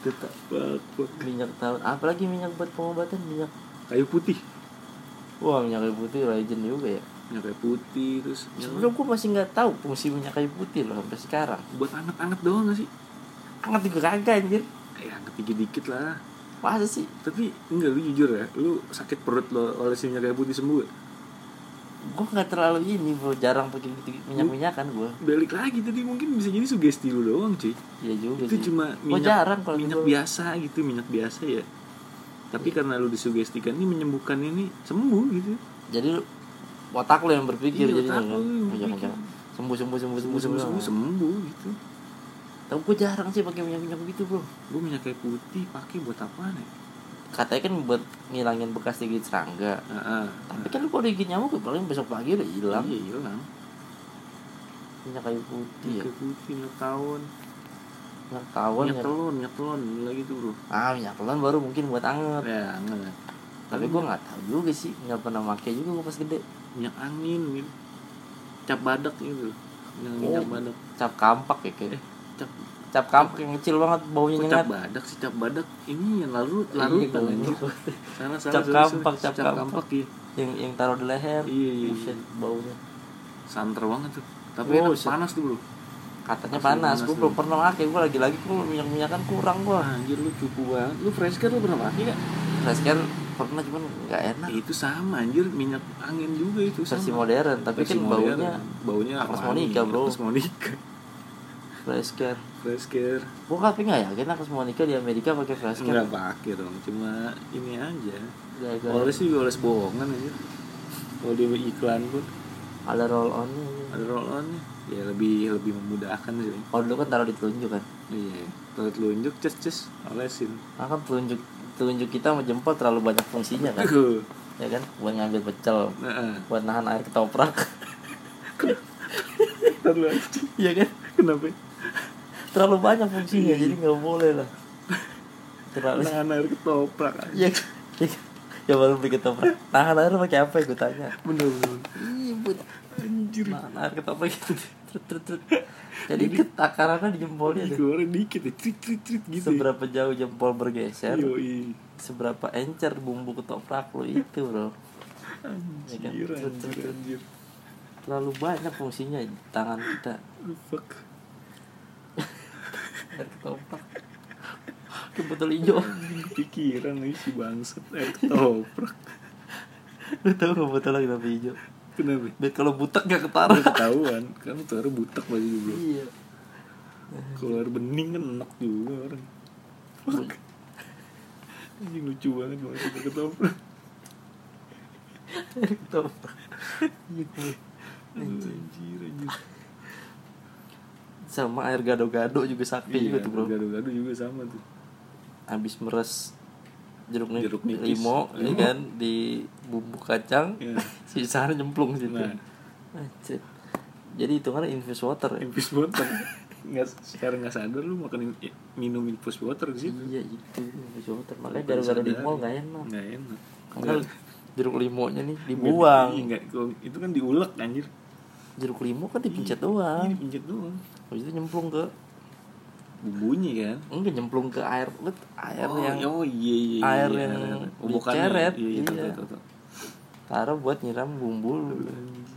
S1: Tetap
S2: Fuck, fuck.
S1: minyak tawon apalagi minyak buat pengobatan minyak
S2: kayu putih
S1: wah minyak kayu putih legend juga ya
S2: minyak kayu putih terus minyak-
S1: sebelum gua masih nggak tahu fungsi minyak kayu putih loh sampai sekarang
S2: buat anget-anget doang nggak sih
S1: anget juga kagak anjir
S2: ya anget dikit-dikit lah
S1: masa sih
S2: tapi enggak lu jujur ya lu sakit perut lo oleh si minyak kayu putih sembuh nggak?
S1: gua nggak terlalu ini bro jarang pakai minyak minyakan gua
S2: balik lagi tadi mungkin bisa jadi sugesti lu doang cuy
S1: Iya juga
S2: itu
S1: sih.
S2: cuma
S1: Gua
S2: minyak
S1: jarang kalau
S2: minyak
S1: gua-
S2: biasa gitu minyak biasa ya tapi karena lu disugestikan ini menyembuhkan ini sembuh gitu
S1: Jadi lu- otak lo yang berpikir
S2: Iya,
S1: jadi
S2: otak
S1: jangan
S2: lu yang
S1: oh, jangan
S2: berpikir.
S1: jangan. Sembuh sembuh sembuh
S2: sembuh
S1: sembuh
S2: sembuh sembuh, sembuh gitu
S1: Tapi gua jarang sih pakai minyak minyak gitu bro.
S2: gue minyak kayu putih pakai buat apaan ya
S1: Katanya kan buat ngilangin bekas gigit serangga.
S2: ah, ah,
S1: Tapi kan lu kalau digigit nyamuk ya paling besok pagi udah
S2: ah.
S1: hilang.
S2: iya hilang
S1: Minyak kayu putih
S2: minyak
S1: ya.
S2: kayu putih minyak tawon
S1: Minyak tawon
S2: Iya. minyak
S1: ya.
S2: telon minyak telon lagi tuh bro
S1: Ah minyak telon baru mungkin buat anget.
S2: ya enggak
S1: Tapi gua nggak tahu juga sih. Nggak pernah pakai juga gua pas gede.
S2: minyak angin gitu cap badak gitu minyak,
S1: Oh.
S2: minyak badak
S1: Cap kampak ya kayak.
S2: eh cap
S1: Cap kampak yang kecil banget baunya
S2: kok cap gitu,
S1: nyengat.
S2: badak sih cap badak ini yang larut
S1: Iya,
S2: larutan
S1: goblok.
S2: anjir. Salah, salah,
S1: Cap
S2: salah,
S1: kampak,
S2: salah.
S1: cap kampak.
S2: iya.
S1: yang yang taruh di leher
S2: Iya, iya,
S1: buset baunya
S2: santer banget tuh tapi
S1: Oh,
S2: enak,
S1: shit.
S2: panas tuh bro
S1: katanya
S2: Asli
S1: panas,
S2: panas
S1: gue
S2: tuh.
S1: belum pernah pakai gue lagi-lagi gue minyak minyakan kurang gue
S2: anjir lu cupu banget lu fresh care lu pernah pakai gak?
S1: fresh care pernah cuman nggak enak
S2: Ya, itu sama anjir minyak angin juga itu sama
S1: versi modern tapi
S2: Versi
S1: kan
S2: modern.
S1: baunya
S2: baunya
S1: Agnes
S2: wangi,
S1: Monica, bro.
S2: Agnes Monica
S1: fresh care
S2: fresh care
S1: gue tapi nggak yakin aku semua nikah di Amerika pakai fresh care
S2: nggak pakai dong cuma ini aja
S1: Gara-gara
S2: oles juga oles bohongan aja kalau di iklan pun
S1: ada roll on
S2: ada roll onnya ya lebih lebih memudahkan sih
S1: kalau dulu kan taruh di telunjuk kan
S2: iya terus telunjuk ces ces olesin
S1: nah, kan telunjuk telunjuk kita sama jempol terlalu banyak fungsinya kan ya kan buat ngambil pecel
S2: nah
S1: buat nahan air ketoprak
S2: ntar lu aja.
S1: ya kan
S2: Iya kenapa
S1: terlalu banyak fungsinya jadi nggak boleh lah terlalu
S2: nahan air ketoprak aja
S1: ya kan? Ya kan? ya baru beli ketoprak nahan air pakai apa ya gue tanya
S2: bener bener
S1: Ribut Anjir Nahan air ketoprak gitu Trut, trut, trut. Jadi ketakarannya di jempolnya deh
S2: digoreng dikit ya trit trit trit gitu ya.
S1: Seberapa jauh jempol bergeser
S2: Iya. Yoi.
S1: Iya Seberapa encer bumbu ketoprak lo itu bro Ya kan?
S2: anjir
S1: Trut, trut,
S2: anjir
S1: trut.
S2: anjir
S1: Terlalu banyak fungsinya di tangan kita
S2: Aduh, fuck
S1: Air ketoprak Ke botol hijau
S2: Iya. pikiran lagi si bangsat air ketoprak
S1: Lu tau gak botolnya kenapa hijau?
S2: kenapa
S1: Biar kalau butek gak
S2: Udah
S1: ketaruh
S2: ketahuan kan tuh air butek lagi bro
S1: Iya
S2: kalau air bening kan enak juga orang fuck anjing lucu banget bangsat air ketoprak
S1: Air ketoprak Iya, gue.
S2: Aduh, anjir anjir
S1: Sama air gado-gado juga sakti
S2: Iya,
S1: juga tuh bro
S2: gado-gado juga sama tuh
S1: habis meres jeruk, nipis,
S2: Jeruk nipis.
S1: limo, ya
S2: Limo.
S1: kan di bumbu kacang
S2: Iya.
S1: sisanya nyemplung situ
S2: Nah.
S1: Anjir. jadi itu kan infused water ya?
S2: infus water nggak secara nggak sadar lu makan in- minum infus water Nah. di situ
S1: iya itu infused water makanya gara-gara di mall gak enak
S2: nggak enak
S1: karena jeruk limonya nih
S2: Iya,
S1: dibuang
S2: Nah. nggak- kalau- itu kan diulek anjir
S1: jeruk limo kan dipencet
S2: ini
S1: doang
S2: pinjat doang
S1: habis itu nyemplung ke
S2: bumbunya kan
S1: enggak nyemplung ke air lu t- air
S2: oh,
S1: yang
S2: oh iya iya iya,
S1: air
S2: iya,
S1: yang
S2: ada, ada. Oh, bukan, iya,
S1: diceret,
S2: iya, iya,
S1: iya.
S2: tahu, tahu, tahu.
S1: taruh buat nyiram bumbu lu.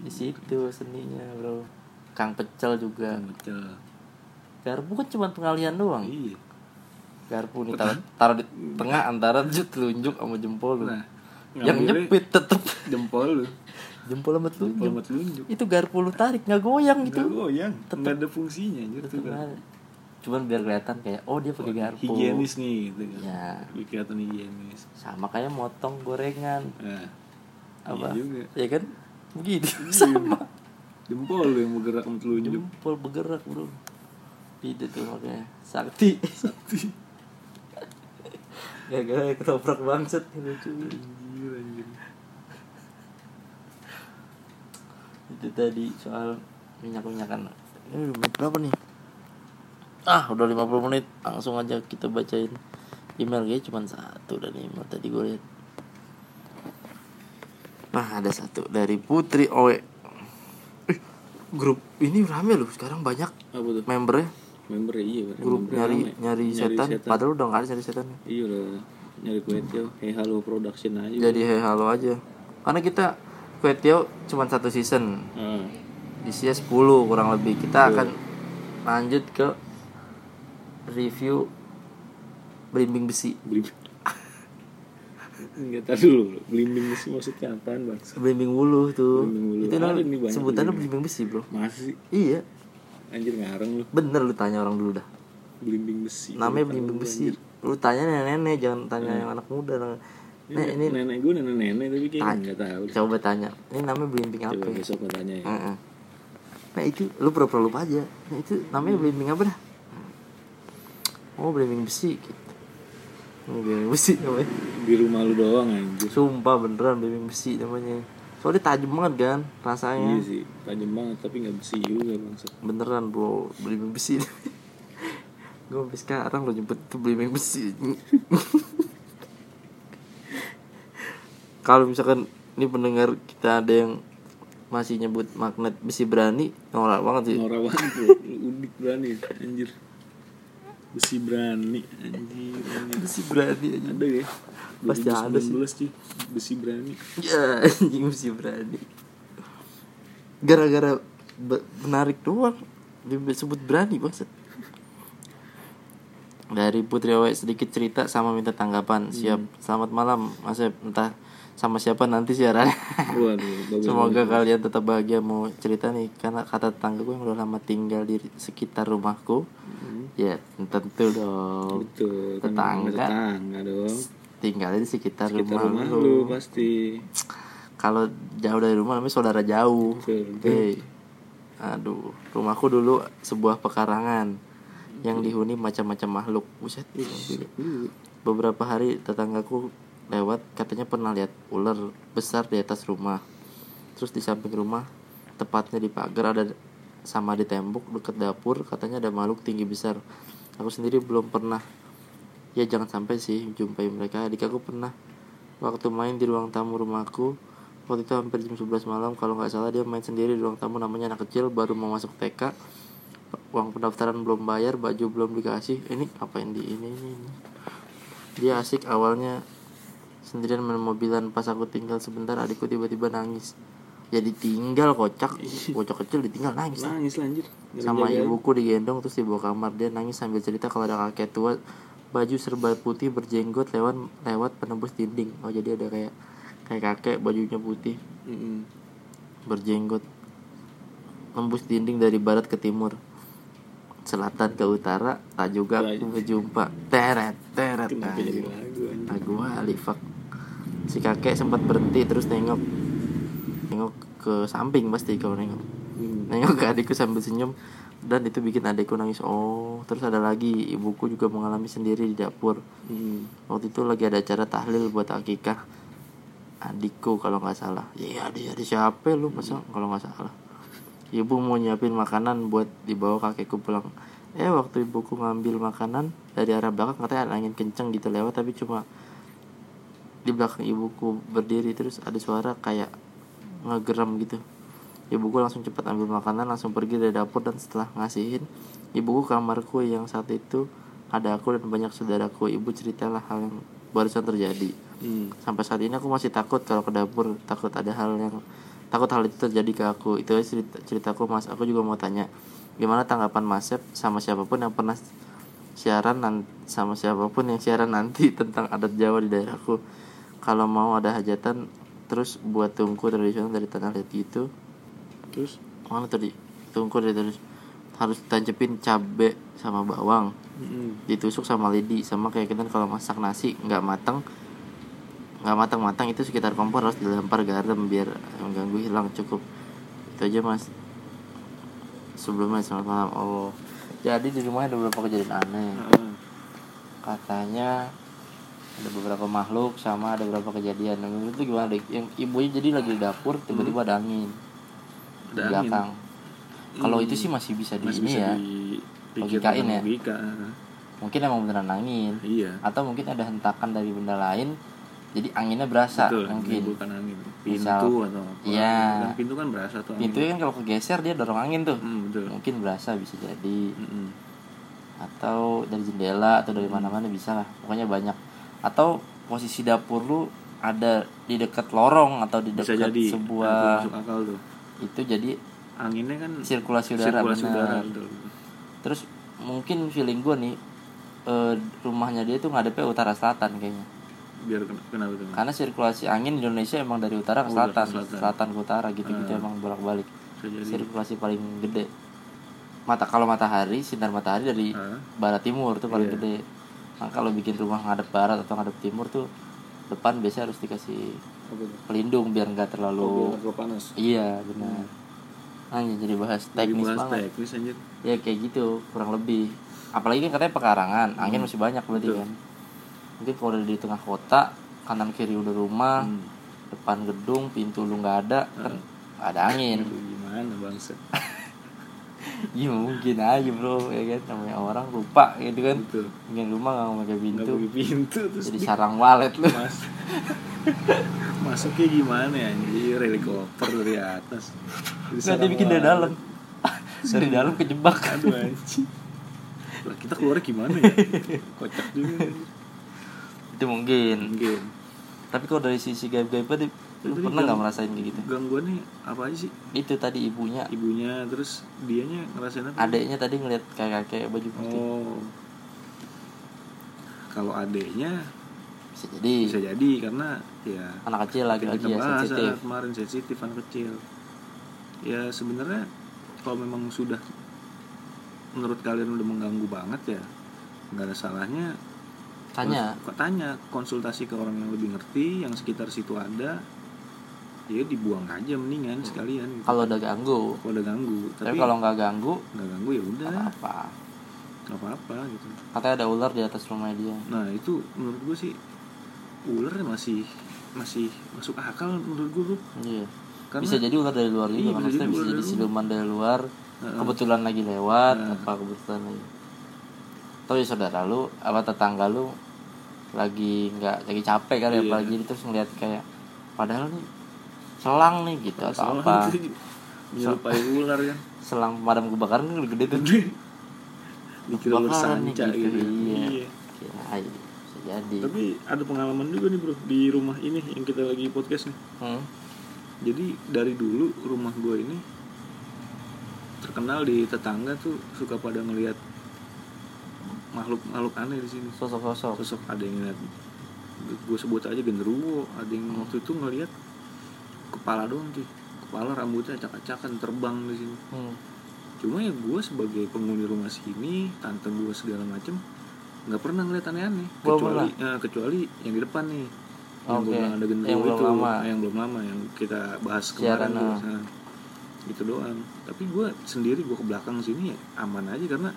S1: di situ seninya bro kang pecel juga
S2: Pecel.
S1: garpu kan cuma pengalian doang
S2: Hmm. iya
S1: garpu nih taruh, taruh di tengah antara ju- telunjuk sama jempol lu.
S2: Nah,
S1: yang
S2: ngambilnya
S1: nyepit tetep
S2: jempol lu
S1: jempol sama
S2: jempol sama
S1: telunjuk.
S2: telunjuk
S1: Itu garpu lu tarik nggak goyang Iya,
S2: nggak
S1: gitu.
S2: goyang nggak ada fungsinya anjir tuh
S1: Tetep
S2: kan.
S1: aja. Cuman biar kelihatan kayak oh dia pakai garpu.
S2: higienis nih gitu kan
S1: Ya,
S2: Biar kelihatan higienis
S1: sama kayak motong gorengan
S2: nah
S1: apa?
S2: iya juga Iya.
S1: Ya kan? Begitu sama.
S2: jempol lu yang bergerak sama telunjuk
S1: Jempol bergerak, Bro. Itu tuh makanya sakti.
S2: sakti
S1: Gara-gara ya, ketoprak bangset Iya, lucu.
S2: anjir anjir
S1: itu tadi soal minyak minyakan ini udah Eh, menit berapa nih ah udah 50 menit langsung aja kita bacain email kayaknya cuma satu dari email tadi gue lihat nah ada satu dari Putri Oe Ih, grup ini rame loh sekarang banyak
S2: apa tuh
S1: membernya
S2: member iya Bang.
S1: grup
S2: Membernya
S1: nyari nyari,
S2: rame.
S1: setan. padahal udah nggak ada nyari setan
S2: iya loh nyari kue tiaw hey halo production aja
S1: jadi hey halo aja karena kita kue tiaw cuma satu season
S2: Heeh.
S1: isinya 10 kurang lebih kita akan lanjut ke review belimbing besi
S2: beli nggak tahu dulu bro. belimbing besi maksudnya apaan bang
S1: belimbing wulu tuh
S2: Belimbing wulu.
S1: itu
S2: Ada
S1: namanya-
S2: nih banyak
S1: sebutannya belimbing besi bro
S2: masih sih?
S1: iya
S2: anjir ngarang lu
S1: bener lu tanya orang dulu dah
S2: belimbing besi
S1: namanya belimbing besi lu tanya nenek-nenek jangan tanya yang anak muda Nek, ini
S2: ini nenek gue nenek nenek tapi kayaknya nggak tahu deh.
S1: coba tanya ini namanya belimbing apa
S2: coba
S1: ya?
S2: besok gue tanya ya
S1: Heeh. Nah itu lu pura-pura lupa aja. Nah itu namanya
S2: Hmm.
S1: belimbing apa dah? Oh belimbing besi gitu. Oh, belimbing besi namanya.
S2: di rumah lu doang anjir
S1: Sumpah beneran belimbing besi namanya. Soalnya tajam banget kan
S2: iya
S1: rasanya.
S2: sih tajam banget tapi nggak besi juga bangsa
S1: Beneran bro belimbing besi. Gue sampai sekarang lo nyebut itu belimbing besi. Kalau misalkan ini pendengar kita ada yang masih nyebut magnet besi berani norak banget sih.
S2: norak banget bro Lu udik berani anjir besi berani anjir, anjir.
S1: Besi berani aja.
S2: ada ya
S1: Pasti ada sih.
S2: 2019, Ci. Besi berani.
S1: Ya, anjing mesti berani. Gara-gara be- menarik doang disebut berani bangsa. Dari Putri Owe sedikit cerita sama minta tanggapan. Siap. Selamat malam, Mas Ep. Entah sama siapa nanti siaran.
S2: Waduh, bagus.
S1: Semoga kalian tetap bahagia mau cerita nih karena kata tetangga gue yang udah lama tinggal di sekitar rumahku. Ya, tentu dong.
S2: Hmm. Betul. kan
S1: Tetangga.
S2: Tetangga dong.
S1: Tinggalnya di sekitar,
S2: Kita
S1: rumah,
S2: rumah
S1: lu.
S2: lu pasti.
S1: Kalau jauh dari rumah namanya saudara jauh.
S2: Betul.
S1: Hey. Aduh, rumahku dulu sebuah pekarangan yang dihuni macam-macam makhluk. Buset. gila.
S2: Iya.
S1: Beberapa hari tetanggaku lewat katanya pernah lihat ular besar di atas rumah. Terus di samping rumah, tepatnya di pagar ada sama di tembok dekat dapur katanya ada makhluk tinggi besar. Aku sendiri belum pernah. Ya jangan sampai sih jumpai mereka. Adik aku pernah waktu main di ruang tamu rumahku waktu itu hampir jam 11 malam kalau nggak salah dia main sendiri di ruang tamu namanya anak kecil baru mau masuk TK uang pendaftaran belum bayar baju belum dikasih ini apa yang di ini ini, ini. Dia asik awalnya sendirian main mobilan pas aku tinggal sebentar adikku tiba-tiba nangis. Ya ditinggal kocak, bocah kecil ditinggal nangis.
S2: Nangis lanjut.
S1: Sama ibuku digendong terus dibawa kamar dia nangis sambil cerita kalau ada kakek tua baju serba putih berjenggot lewat lewat penembus dinding. Oh jadi ada kayak kayak kakek bajunya putih berjenggot nembus dinding dari barat ke timur selatan ke utara tak juga aku berjumpa teret teret
S2: Kenapa jadi
S1: anjing.
S2: lagu anjing?
S1: Lagu Ali fuck. Si kakek sempat berhenti terus nengok Nengok ke samping pasti kalau nengok
S2: Hmm.
S1: Nengok ke adikku sambil senyum Dan itu bikin adikku nangis Oh terus ada lagi ibuku juga mengalami sendiri di dapur
S2: Hmm.
S1: Waktu itu lagi ada acara tahlil buat akikah Adikku kalau nggak salah Iya adik adik siapa lu masa kalau nggak salah Ibu mau nyiapin makanan buat dibawa kakekku pulang Eh waktu ibuku ngambil makanan dari arah belakang katanya ada angin kenceng gitu lewat tapi cuma di belakang ibuku berdiri terus ada suara kayak ngegeram gitu ibuku langsung cepat ambil makanan langsung pergi dari dapur dan setelah ngasihin ibuku ke kamarku yang saat itu ada aku dan banyak saudaraku ibu ceritalah hal yang barusan terjadi
S2: Hmm.
S1: sampai saat ini aku masih takut kalau ke dapur takut ada hal yang takut hal itu terjadi ke aku itu aja cerita ceritaku mas aku juga mau tanya gimana tanggapan mas Sep sama siapapun yang pernah siaran nan- sama siapapun yang siaran nanti tentang adat Jawa di daerahku kalau mau ada hajatan terus buat tungku tradisional dari tanah liat gitu
S2: Terus
S1: mana tadi tungku dari terus harus tancepin cabe sama bawang
S2: Mm-mm.
S1: ditusuk sama lidi sama kayak kita kalau masak nasi nggak matang nggak matang matang itu sekitar kompor harus dilempar garam biar mengganggu hilang cukup itu aja mas sebelumnya selamat malam oh jadi di rumah ada beberapa kejadian aneh
S2: Ah,
S1: katanya ada beberapa makhluk sama ada beberapa kejadian Nah, menurut itu gimana deh yang ibunya jadi lagi di dapur tiba-tiba ada angin di
S2: Ada angin.
S1: belakang kalau itu sih masih bisa di
S2: masih
S1: ini
S2: bisa
S1: ya
S2: dipikirkan
S1: Logikain ya?
S2: logika. Ah,
S1: mungkin emang beneran angin
S2: Iya.
S1: atau mungkin ada hentakan dari benda lain jadi anginnya berasa
S2: Betul,
S1: mungkin
S2: menimbulkan angin. Pintu
S1: Misal-
S2: atau apa.
S1: Iya.
S2: Kan pintu kan berasa tuh angin.
S1: pintunya kan kalau kegeser dia dorong angin tuh
S2: Mm, betul.
S1: mungkin berasa bisa jadi
S2: Mm-mm.
S1: atau dari jendela atau dari mana-mana bisa lah pokoknya banyak atau posisi dapur lu ada di dekat lorong atau di
S2: Bisa
S1: dekat
S2: jadi Nah, itu
S1: sebuah
S2: masuk akal tuh.
S1: itu jadi
S2: Anginnya kan
S1: sirkulasi udara
S2: sirkulasi
S1: benar.
S2: udara betul.
S1: terus mungkin feeling gue nih eh, rumahnya dia tuh ngadepnya utara selatan kayaknya
S2: Biar ken- kenapa tuh?
S1: karena sirkulasi angin di Indonesia emang dari utara ke
S2: Oh, dari
S1: selatan,
S2: selatan.
S1: selatan, Ah. ke utara gitu-gitu emang bolak-balik.
S2: Bisa jadi.
S1: Sirkulasi paling gede. Mata kalau matahari, sinar matahari dari
S2: Ah.
S1: barat timur tuh paling gede. Nah, kalau bikin rumah ngadep barat atau ngadep timur tuh depan biasanya harus dikasih
S2: Apa tuh?
S1: pelindung biar nggak terlalu
S2: Terlalu panas.
S1: Oh, Iya, benar. Anjir jadi bahas teknis
S2: Dibahas
S1: banget.
S2: teknis anjir.
S1: Ya kayak gitu, kurang lebih. Apalagi kan katanya pekarangan,
S2: Hmm.
S1: angin masih banyak berarti kan. Mungkin kalau udah di tengah kota, kanan kiri udah rumah,
S2: Hmm.
S1: depan gedung pintu lu nggak ada kan nggak ada angin
S2: Aduh, gimana bangsa?
S1: ya mungkin aja bro ya kan namanya orang lupa gitu kan
S2: Betul.
S1: ingin rumah nggak pakai
S2: Nggak
S1: pintu
S2: pakai pintu terus
S1: jadi sarang walet lu
S2: Mas. Masuknya gimana ya anjir helikopter dari atas. Dari
S1: nggak dia bikin dari
S2: sarang
S1: dalam dari dalam kejebak
S2: walet. Aduh anjir. Lah kita keluar gimana ya? Kocak juga. anjir.
S1: itu itu mungkin
S2: mungkin
S1: tapi kalau dari sisi gaib-gaib tadi lu
S2: Tapi
S1: pernah
S2: dia-
S1: nggak merasain kayak gitu
S2: gangguannya apa aja sih
S1: itu tadi ibunya
S2: ibunya terus dianya ngerasain apa
S1: adeknya tadi ngeliat kakak kakek baju putih
S2: oh kalau adeknya
S1: bisa jadi
S2: bisa jadi karena ya
S1: anak kecil lagi-lagi
S2: kita
S1: ya
S2: bahas,
S1: sensitif
S2: ah, kemarin sensitif anak kecil ya sebenarnya kalau memang sudah menurut kalian udah mengganggu banget ya nggak ada salahnya
S1: tanya
S2: kok tanya konsultasi ke orang yang lebih ngerti yang sekitar situ ada ya dibuang aja mendingan sekalian gitu.
S1: Hmm. kalau udah ganggu
S2: kalau udah ganggu
S1: tapi
S2: tapi
S1: kalau nggak ganggu
S2: nggak ganggu ya udah
S1: apa
S2: nggak apa-apa gitu
S1: katanya ada ular di atas rumah dia
S2: nah itu menurut gue sih ular masih masih masuk akal menurut gue Bro.
S1: iya
S2: karena
S1: bisa jadi ular dari luar
S2: Iya,
S1: juga maksudnya
S2: bisa jadi
S1: bisa
S2: ular
S1: jadi
S2: dari Eh.
S1: siluman dari luar
S2: Heeh.
S1: kebetulan lagi lewat
S2: Heeh.
S1: apa kebetulan lagi atau ya saudara lu apa tetangga lu lagi nggak lagi capek kali ya
S2: Iya.
S1: apalagi terus ngeliat kayak padahal nih selang nih gitu atau
S2: Salah
S1: apa
S2: itu menyerupai ular kan
S1: selang pemadam kebakaran kan gede tuh
S2: dikira ular
S1: Kebakaran nih
S2: sanca
S1: gitu,
S2: gitu,
S1: iya. Kirain, bisa jadi
S2: tapi ada pengalaman juga nih bro di rumah ini yang kita lagi podcast nih
S1: Hmm.
S2: jadi dari dulu rumah gue ini terkenal di tetangga tuh suka pada ngelihat makhluk makhluk aneh di sini
S1: sosok-sosok
S2: sosok ada yang ngeliat gue sebut aja genderuwo ada yang waktu itu ngeliat kepala doang sih kepala rambutnya acak-acakan terbang di sini
S1: Hmm.
S2: cuma ya gue sebagai penghuni rumah sini tante gue segala macem nggak pernah ngeliat aneh-aneh
S1: Gua
S2: kecuali eh, kecuali yang di depan nih yang gua
S1: Oke,
S2: bilang ada genderuwo
S1: yang belum
S2: itu
S1: lama.
S2: Nah, yang belum lama yang kita bahas
S1: Siaran,
S2: kemarin tuh
S1: ah.
S2: Nah, itu doang tapi gue sendiri gue ke belakang sini ya aman aja karena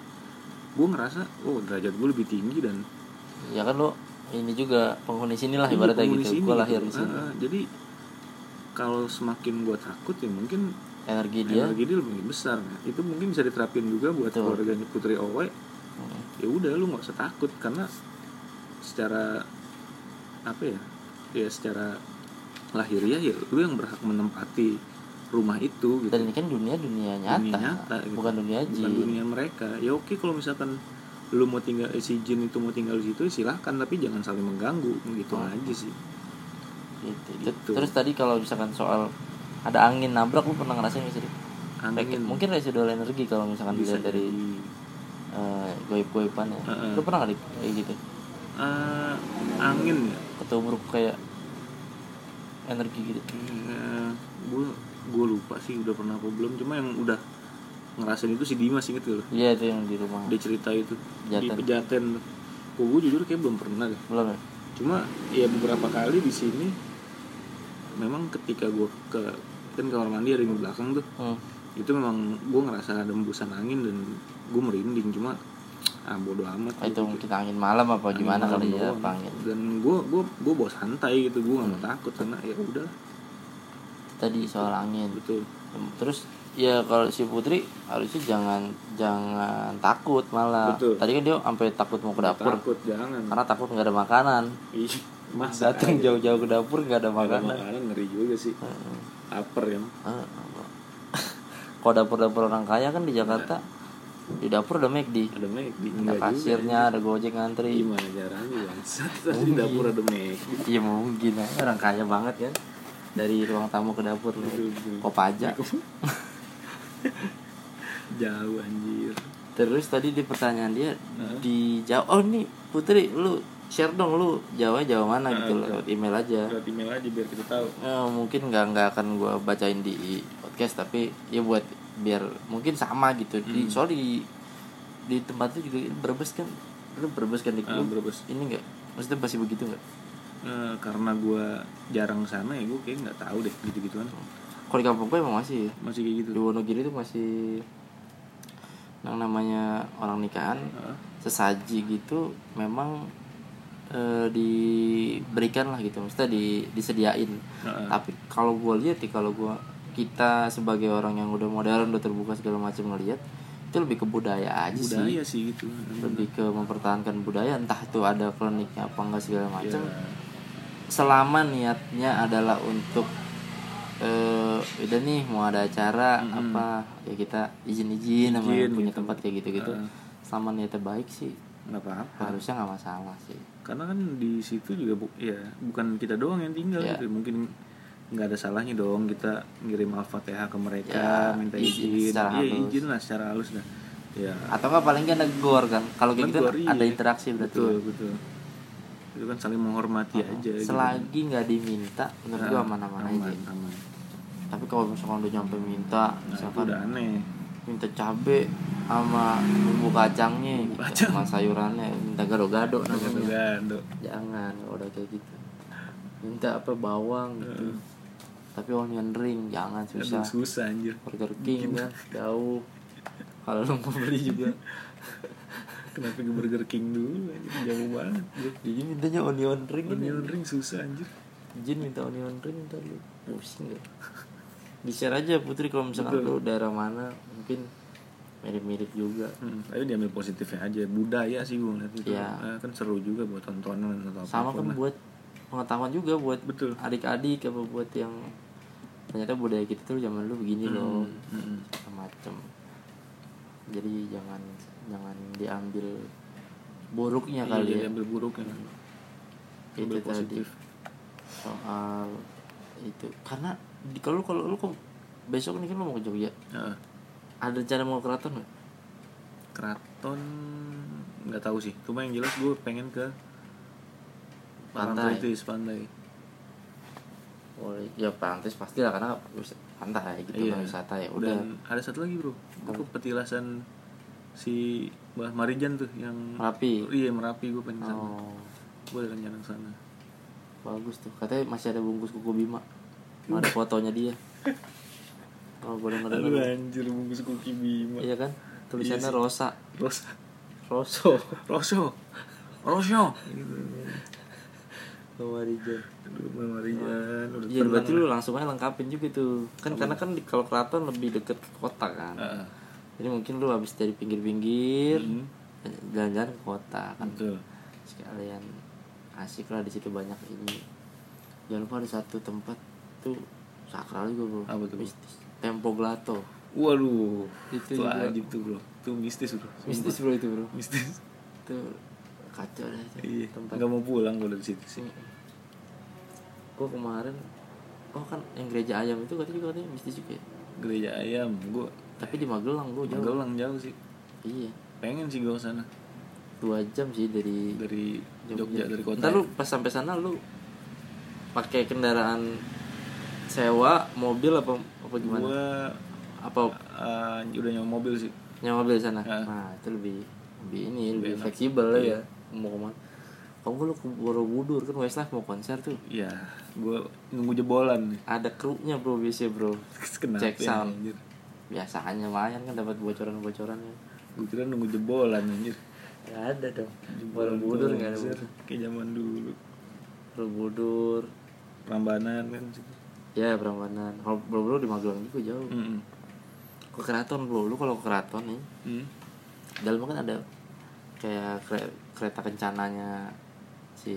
S2: gue ngerasa oh derajat gue lebih tinggi dan
S1: ya kan lo ini juga penghuni sini lah
S2: Iya,
S1: ibaratnya
S2: penghuni
S1: gitu
S2: sini
S1: gue lahir di
S2: gitu.
S1: sini
S2: Ah, ah. jadi kalau semakin gue takut ya mungkin
S1: energi dia
S2: energi dia lebih besar Nah, itu mungkin bisa diterapin juga buat
S1: ya. Betul.
S2: keluarganya Putri Owe
S1: Hmm.
S2: ya udah lu nggak usah takut karena secara apa ya ya secara lahiriah ya lu yang berhak menempati rumah itu gitu
S1: dan ini kan dunia dunia nyata,
S2: Dunia nyata, gitu.
S1: bukan dunia jin
S2: bukan dunia mereka ya oke kalau misalkan lu mau tinggal eh, si jin itu mau tinggal di situ ya silahkan tapi jangan saling mengganggu gitu
S1: Hmm.
S2: aja sih
S1: Gitu.
S2: Gitu.
S1: terus tadi kalau misalkan soal ada angin nabrak lu pernah ngerasain nggak sih Dit? Kayak-
S2: angin
S1: mungkin residual energi kalau misalkan
S2: bisa
S1: dilihat dari
S2: jadi.
S1: eh goib-goiban ya
S2: Heeh.
S1: lu pernah nggak Dit, kayak gitu
S2: Eh, angin ya
S1: ketubruk kayak energi gitu
S2: gue gue Eh, lupa sih udah pernah apa belum cuma yang udah ngerasain itu si Dimas inget gak lo
S1: iya itu yang di rumah
S2: dia cerita itu di
S1: Pejaten.
S2: pejaten gue jujur kayak belum pernah deh
S1: belum ya
S2: cuma ya beberapa kali di sini memang ketika gue ke kan kamar mandi ada yang di belakang tuh
S1: hmm.
S2: itu memang gue ngerasa ada embusan angin dan gue merinding cuma ah bodo amat
S1: itu mungkin angin malam apa
S2: Angin
S1: gimana
S2: malam oh.
S1: kali ya
S2: doang.
S1: apa angin
S2: dan gue gue gue bawa santai gitu gue
S1: Hmm.
S2: nggak takut karena ya udah
S1: tadi soal angin
S2: betul
S1: terus ya kalau si putri harusnya jangan jangan takut malah
S2: Betul.
S1: tadi kan dia sampai takut mau ke dapur
S2: takut jangan
S1: karena takut nggak ada makanan
S2: Ih, masa
S1: datang
S2: aja.
S1: jauh-jauh ke dapur nggak ada
S2: Ada
S1: makanan
S2: makanan ngeri juga sih Aper ya
S1: Ah, apa? kalau dapur-dapur orang kaya kan di Jakarta di dapur ada McD ada
S2: Ada McD Enggak Iya juga ya.
S1: kasirnya ada gojek ngantri
S2: Gimana caranya bangsat Di dapur ada McD
S1: iya mungkin aja, orang kaya banget kan dari ruang tamu ke dapur
S2: Betul, betul. Iya,
S1: kopaja
S2: Jauh anjir
S1: Terus tadi di pertanyaan dia di Jawa. Oh nih Putri, lu share dong lu Jawa Jawa
S2: Ah,
S1: mana gitu loh, lewat email aja.
S2: Lewat email aja biar kita tahu
S1: Eh, mungkin nggak nggak akan gua bacain di podcast tapi ya buat biar mungkin sama gitu.
S2: Hmm.
S1: Di soal di di tempat itu juga berbes kan, lu berbes kan di
S2: Ah,
S1: klub.
S2: bro, bos.
S1: Ini enggak, maksudnya masih begitu nggak?
S2: Eh, Karena gue jarang kesana ya gue kayak nggak tahu deh gitu-gituan
S1: Kalau di kampung gue emang masih ya.
S2: Masih kayak gitu
S1: Di Wonogiri itu masih yang namanya orang nikahan
S2: Heeh.
S1: sesaji gitu memang eh, diberikan lah gitu maksudnya di, disediain
S2: Heeh.
S1: tapi kalau gue lihat ya kalau gue kita sebagai orang yang udah modern udah terbuka segala macam ngelihat itu lebih ke budaya aja Iya sih
S2: Budaya sih gitu
S1: lebih ke mempertahankan budaya entah itu ada kliniknya apa enggak segala macam
S2: Ya,
S1: selama niatnya adalah untuk eh udah nih mau ada acara apa ya kita izin-izin sama yang
S2: Izin
S1: punya
S2: gitu.
S1: tempat kayak gitu-gitu
S2: Heeh.
S1: selama niatnya baik sih
S2: nggak apa-apa
S1: harusnya nggak masalah sih
S2: karena kan di situ juga bu ya bukan kita doang yang tinggal
S1: Ya.
S2: gitu mungkin nggak ada salahnya dong kita ngirim al-fatihah ke mereka
S1: Ya,
S2: minta
S1: izin
S2: izin
S1: secara
S2: Iya,
S1: halus.
S2: izin lah secara halus lah ya
S1: atau nggak paling nggak negor kan kalau kayak gitu
S2: Negor, iya.
S1: ada interaksi berarti
S2: betul
S1: kan?
S2: betul itu kan saling menghormati aja gitu.
S1: selagi nggak diminta menurut
S2: Ah,
S1: gua aman-aman aja
S2: aman, aman.
S1: tapi kalau misalkan udah nyampe minta
S2: Nah, itu
S1: misalkan
S2: udah aneh
S1: minta cabe sama bumbu kacangnya gitu,
S2: kacang.
S1: sama sayurannya minta gado-gado
S2: Gado
S1: namanya
S2: gado
S1: jangan kalau udah kayak gitu minta apa bawang gitu tapi onion ring jangan susah
S2: susah anjir
S1: Burger King kan jauh kalau lu mau beli juga
S2: kenapa ke Burger King dulu anjir jauh banget
S1: Jadi mintanya onion ring ini.
S2: onion ring susah anjir
S1: Jin minta onion ring ntar lu pusing gak? Di share aja Putri kalau misalkan lu daerah mana mungkin mirip-mirip juga.
S2: Hmm, tapi diambil positifnya aja budaya sih gue ngeliat itu
S1: Iya.
S2: Eh, kan seru juga buat tontonan atau apa
S1: Sama kan buat pengetahuan juga buat
S2: Betul.
S1: adik-adik apa buat yang ternyata budaya kita tuh zaman dulu begini loh
S2: Hmm.
S1: Segala macem jadi jangan jangan diambil buruknya kali ya
S2: diambil Iya, buruknya kan
S1: itu
S2: Ambil
S1: tadi
S2: positif.
S1: soal itu karena di kalau kalau lu kok besok nih kan lu mau ke Jogja
S2: Heeh.
S1: ada rencana mau ke keraton nggak
S2: keraton nggak tahu sih cuma yang jelas gue pengen ke
S1: Pantai.
S2: Parangtritis, pantai
S1: boleh ya pantas pasti lah karena wis- pantai gitu kan wisata ya udah
S2: dan ada satu lagi bro itu petilasan si Mbah Marijan tuh yang
S1: Merapi.
S2: iya merapi gue pengen sana
S1: oh
S2: gue ada rencana ke sana
S1: bagus tuh katanya masih ada bungkus kuku bima ada fotonya dia oh boleh
S2: Aduh
S1: dengar
S2: anjir bungkus kuki bima
S1: iya kan tulisannya Rosa
S2: Terus
S1: Roso
S2: Rosyo Rosyo gitu.
S1: Marijan
S2: Aduh, Mbak Marijan udah
S1: Iya berarti lu langsung aja lengkapin juga tuh kan karena kan di- kalau keraton lebih deket ke kota kan
S2: Heeh.
S1: jadi mungkin lu habis dari pinggir-pinggir jalan-jalan ke kota kan
S2: hmm. Betul.
S1: sekalian asik lah di situ banyak ini jangan lupa ada satu tempat tuh sakral juga bro
S2: Apa tuh?
S1: mistis tempo glato
S2: Waduh,
S1: Itu
S2: itu
S1: juga.
S2: wajib tuh bro, itu mistis bro,
S1: mistis bro itu bro
S2: mistis.
S1: itu kacau dah itu
S2: Iya,
S1: tempat Iya.
S2: nggak mau pulang kalau di situ sih.
S1: gue kemarin oh kan yang gereja ayam itu katanya juga katanya mistis juga ya
S2: Gereja ayam, gue
S1: tapi di Magelang gue jauh
S2: pulang jauh sih.
S1: iya
S2: Pengen sih gue ke sana
S1: dua jam sih dari
S2: dari Jogja, dari kota. ya.
S1: Ntar lu pas sampai sana lu pakai kendaraan sewa, mobil apa apa gimana?
S2: gue
S1: Apa
S2: ah, udah nyawa mobil sih.
S1: nyewa mobil di sana?
S2: Ah. Iya.
S1: Nah, itu lebih lebih ini lebih, fleksibel lah ya. Mau kemana? Kamu lu ke Borobudur kan Westlife mau konser tuh.
S2: Iya, gue nunggu jebolan nih.
S1: Ada krunya bro biasanya bro.
S2: Kenapa?
S1: Cek
S2: ya,
S1: sound.
S2: anjir?
S1: Biasanya lumayan kan dapat bocoran-bocoran ya.
S2: Gue kira nunggu jebolan anjir.
S1: Gak ada dong. Borobudur nggak ada.
S2: Anjir, Kayak zaman dulu.
S1: Borobudur.
S2: Prambanan kan situ.
S1: Ya, Prambanan. Kalau Borobudur di Magelang juga jauh.
S2: Mm-mm.
S1: Ke keraton bro, lu kalau ke keraton nih
S2: Hmm.
S1: dalam kan ada kayak kere- kereta kencananya si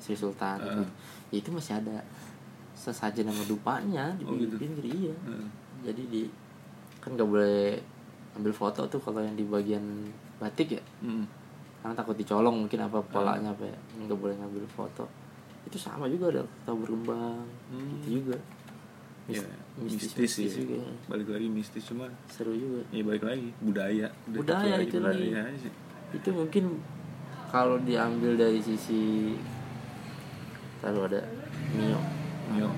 S1: Sri Sultan gitu. Ya, itu masih ada sesajen sama dupanya di
S2: Oh, gitu.
S1: pinggir iya
S2: Heeh.
S1: jadi di kan nggak boleh ambil foto tuh kalau yang di bagian batik ya
S2: Mm-mm.
S1: karena takut dicolong mungkin apa polanya apa ya nggak boleh ngambil foto itu sama juga ada tahu berkembang
S2: Hmm.
S1: gitu juga
S2: Ya,
S1: mistis-
S2: mistis,
S1: mistis
S2: sih.
S1: juga. ya.
S2: Balik lagi mistis cuma
S1: seru juga
S2: ya balik lagi budaya. Udah
S1: Budaya
S2: lagi
S1: itu lagi.
S2: budaya aja.
S1: itu mungkin kalau diambil dari sisi kalau ada Mio
S2: Yo.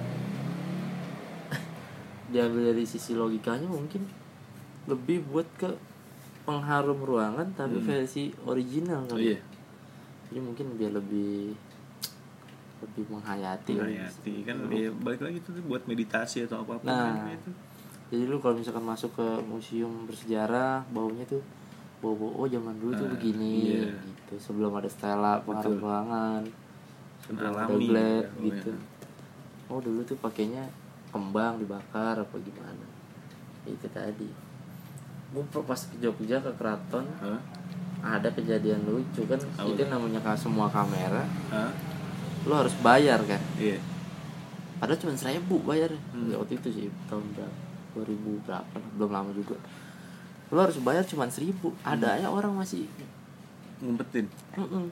S1: diambil dari sisi logikanya mungkin lebih buat ke pengharum ruangan tapi versi original
S2: Oh
S1: kali ya.
S2: iya,
S1: jadi mungkin biar lebih lebih menghayati Iya. lah.
S2: berhati kan ya, balik lagi itu buat meditasi atau apa apa
S1: Nah.
S2: kan itu.
S1: jadi lu kalau misalkan masuk ke museum bersejarah baunya tuh bau bau oh zaman dulu tuh begini
S2: iya.
S1: gitu sebelum ada Stella pengharum ruangan sebelum ada
S2: Alami,
S1: Glad
S2: ya,
S1: gitu
S2: pokoknya.
S1: oh dulu tuh pakainya kembang dibakar apa gimana itu tadi gue pas ke Jogja ke keraton
S2: Hah?
S1: ada kejadian lucu kan itu namanya ka- semua kamera
S2: Hah?
S1: lu harus bayar kan
S2: Iya.
S1: Padahal cuma seribu bayar ya, waktu itu sih tahun berapa 2000 Hmm. berapa lah, belum lama juga. Lo harus bayar cuma seribu. Ada aja orang masih
S2: ngumpetin
S1: Mm-mm.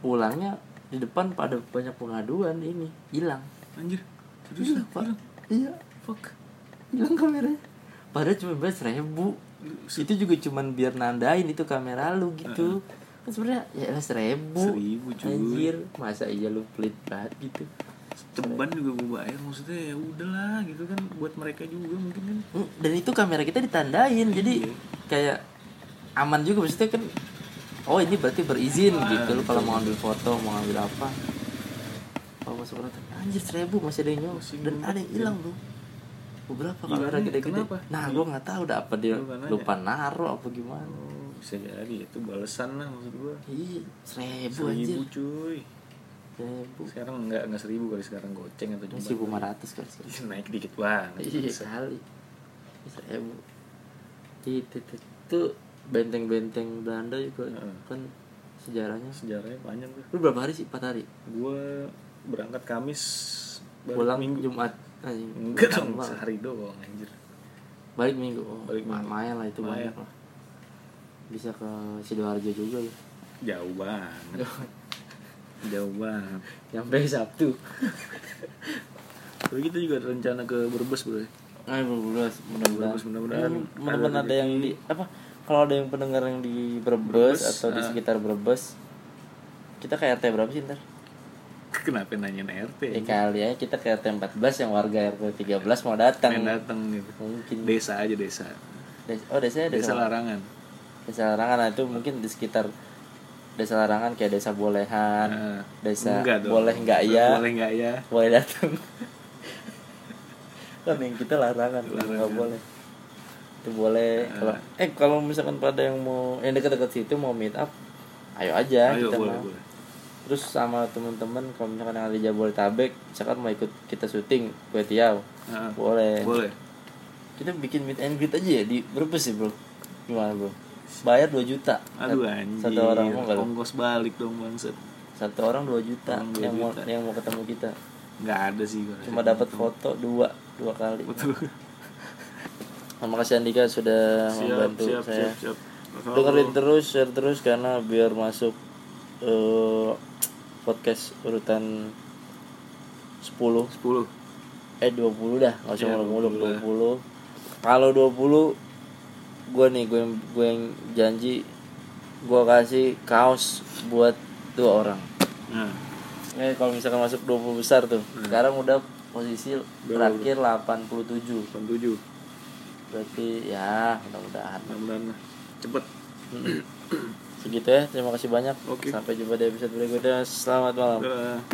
S1: Pulangnya di depan pada banyak pengaduan ini hilang.
S2: anjir serius
S1: Pak. Iya,
S2: fuck
S1: hilang kameranya. Padahal cuma belas ribu. Itu juga cuman biar nandain itu kamera lu gitu. Kan sebenarnya ya lah seribu.
S2: Seribu, cuy.
S1: Anjir, masa iya lu pelit banget gitu.
S2: ceban juga gue bayar maksudnya ya udahlah gitu kan buat mereka juga mungkin kan
S1: Mm, Dan itu kamera kita ditandain, jadi
S2: Iya.
S1: kayak aman juga maksudnya kan. Oh ini berarti berizin
S2: Ah,
S1: gitu lu kalau mau ambil foto mau ambil apa. Kalau masuk rata, anjir seribu masih ada yang nyolong
S2: Masih
S1: dan
S2: nyolong,
S1: ada yang hilang bro. Beberapa
S2: Hilang
S1: kamera
S2: nih,
S1: gede-gede.
S2: kenapa?
S1: Nah gua nggak tahu udah apa dia
S2: Lupa nanya.
S1: lupa naruh apa gimana.
S2: oh bisa jadi itu balesan lah maksud gue
S1: Iya seribu anjir
S2: seribu cuy
S1: seribu.
S2: sekarang enggak enggak seribu kali sekarang goceng atau
S1: Ini
S2: cuma
S1: seribu lima ratus kali sih.
S2: Ih, naik dikit banget
S1: Iya
S2: Bisa.
S1: sekali. Seribu. Itu itu, itu benteng-benteng Belanda juga
S2: Heeh.
S1: kan sejarahnya.
S2: sejarahnya panjang tuh
S1: Lu berapa hari sih? Empat hari.
S2: gue berangkat Kamis balik
S1: Pulang
S2: minggu
S1: Jumat. Anjing.
S2: enggak dong
S1: Tambah.
S2: sehari doang anjir
S1: Balik minggu. Oh,
S2: Balik minggu.
S1: Lumayan lah itu
S2: Lumayan.
S1: banyak lah. Bisa ke sidoarjo juga ya.
S2: jauh banget jauh banget
S1: Nyampe Sabtu.
S2: tapi kita juga ada rencana ke Brebes bro
S1: Nah, berbes, mudah-mudahan.
S2: Brebes, mudah-mudahan.
S1: Hmm, Mudah-mudahan ada yang di apa? Kalau ada yang pendengar yang di Brebes, atau
S2: ah.
S1: di sekitar Brebes, kita ke RT berapa sih ntar?
S2: kenapa nanyain
S1: Ya
S2: RT
S1: kali ya kita ke RT 14 yang warga RT 13 mau datang.
S2: pengen datang gitu
S1: Mungkin
S2: desa aja desa
S1: Des- oh desanya desa
S2: desa larangan
S1: desa larangan nah, itu mungkin di sekitar desa larangan kayak desa bolehan,
S2: Nah,
S1: desa
S2: enggak dong.
S1: boleh enggak ya?
S2: boleh enggak ya
S1: Boleh datang. kan yang kita larangan, enggak boleh. Itu boleh
S2: Nah.
S1: kalau eh kalau misalkan pada yang mau yang dekat-dekat situ mau meet up, ayo aja
S2: ayo
S1: kita
S2: boleh
S1: mau.
S2: boleh
S1: terus sama temen-temen kalau misalkan yang ada di Jabodetabek misalkan mau ikut kita syuting kue tiaw
S2: Nah,
S1: boleh
S2: boleh
S1: kita bikin meet and greet aja ya di Brebes sih bro gimana bro bayar 2 juta Eh,
S2: aduh anjir
S1: satu orang mau nggak lu?
S2: ongkos balik dong bangset
S1: satu orang 2 juta
S2: Orang 2
S1: yang mau
S2: juta.
S1: yang mau ketemu kita
S2: nggak ada sih gua
S1: cuma
S2: rasa.
S1: dapat foto dua dua kali
S2: betul
S1: terima kasih Andika sudah
S2: siap
S1: membantu
S2: siap
S1: saya
S2: siap siap
S1: dengerin terus share terus karena biar masuk eh, podcast urutan 10
S2: sepuluh
S1: eh 20 dah nggak usah
S2: Iya,
S1: muluk-muluk
S2: 20 lah.
S1: 20 kalau 20 gue nih gue yang gue yang janji gue kasih kaos buat dua orang
S2: nah
S1: eh kalau misalkan masuk 20 besar tuh
S2: Hmm.
S1: sekarang udah posisi terakhir 87
S2: delapan tujuh
S1: berarti ya mudah-mudahan
S2: mudah-mudahan lah. cepet
S1: segitu ya terima kasih banyak
S2: Hmm. Oke.
S1: sampai jumpa di episode berikutnya selamat malam
S2: Dah.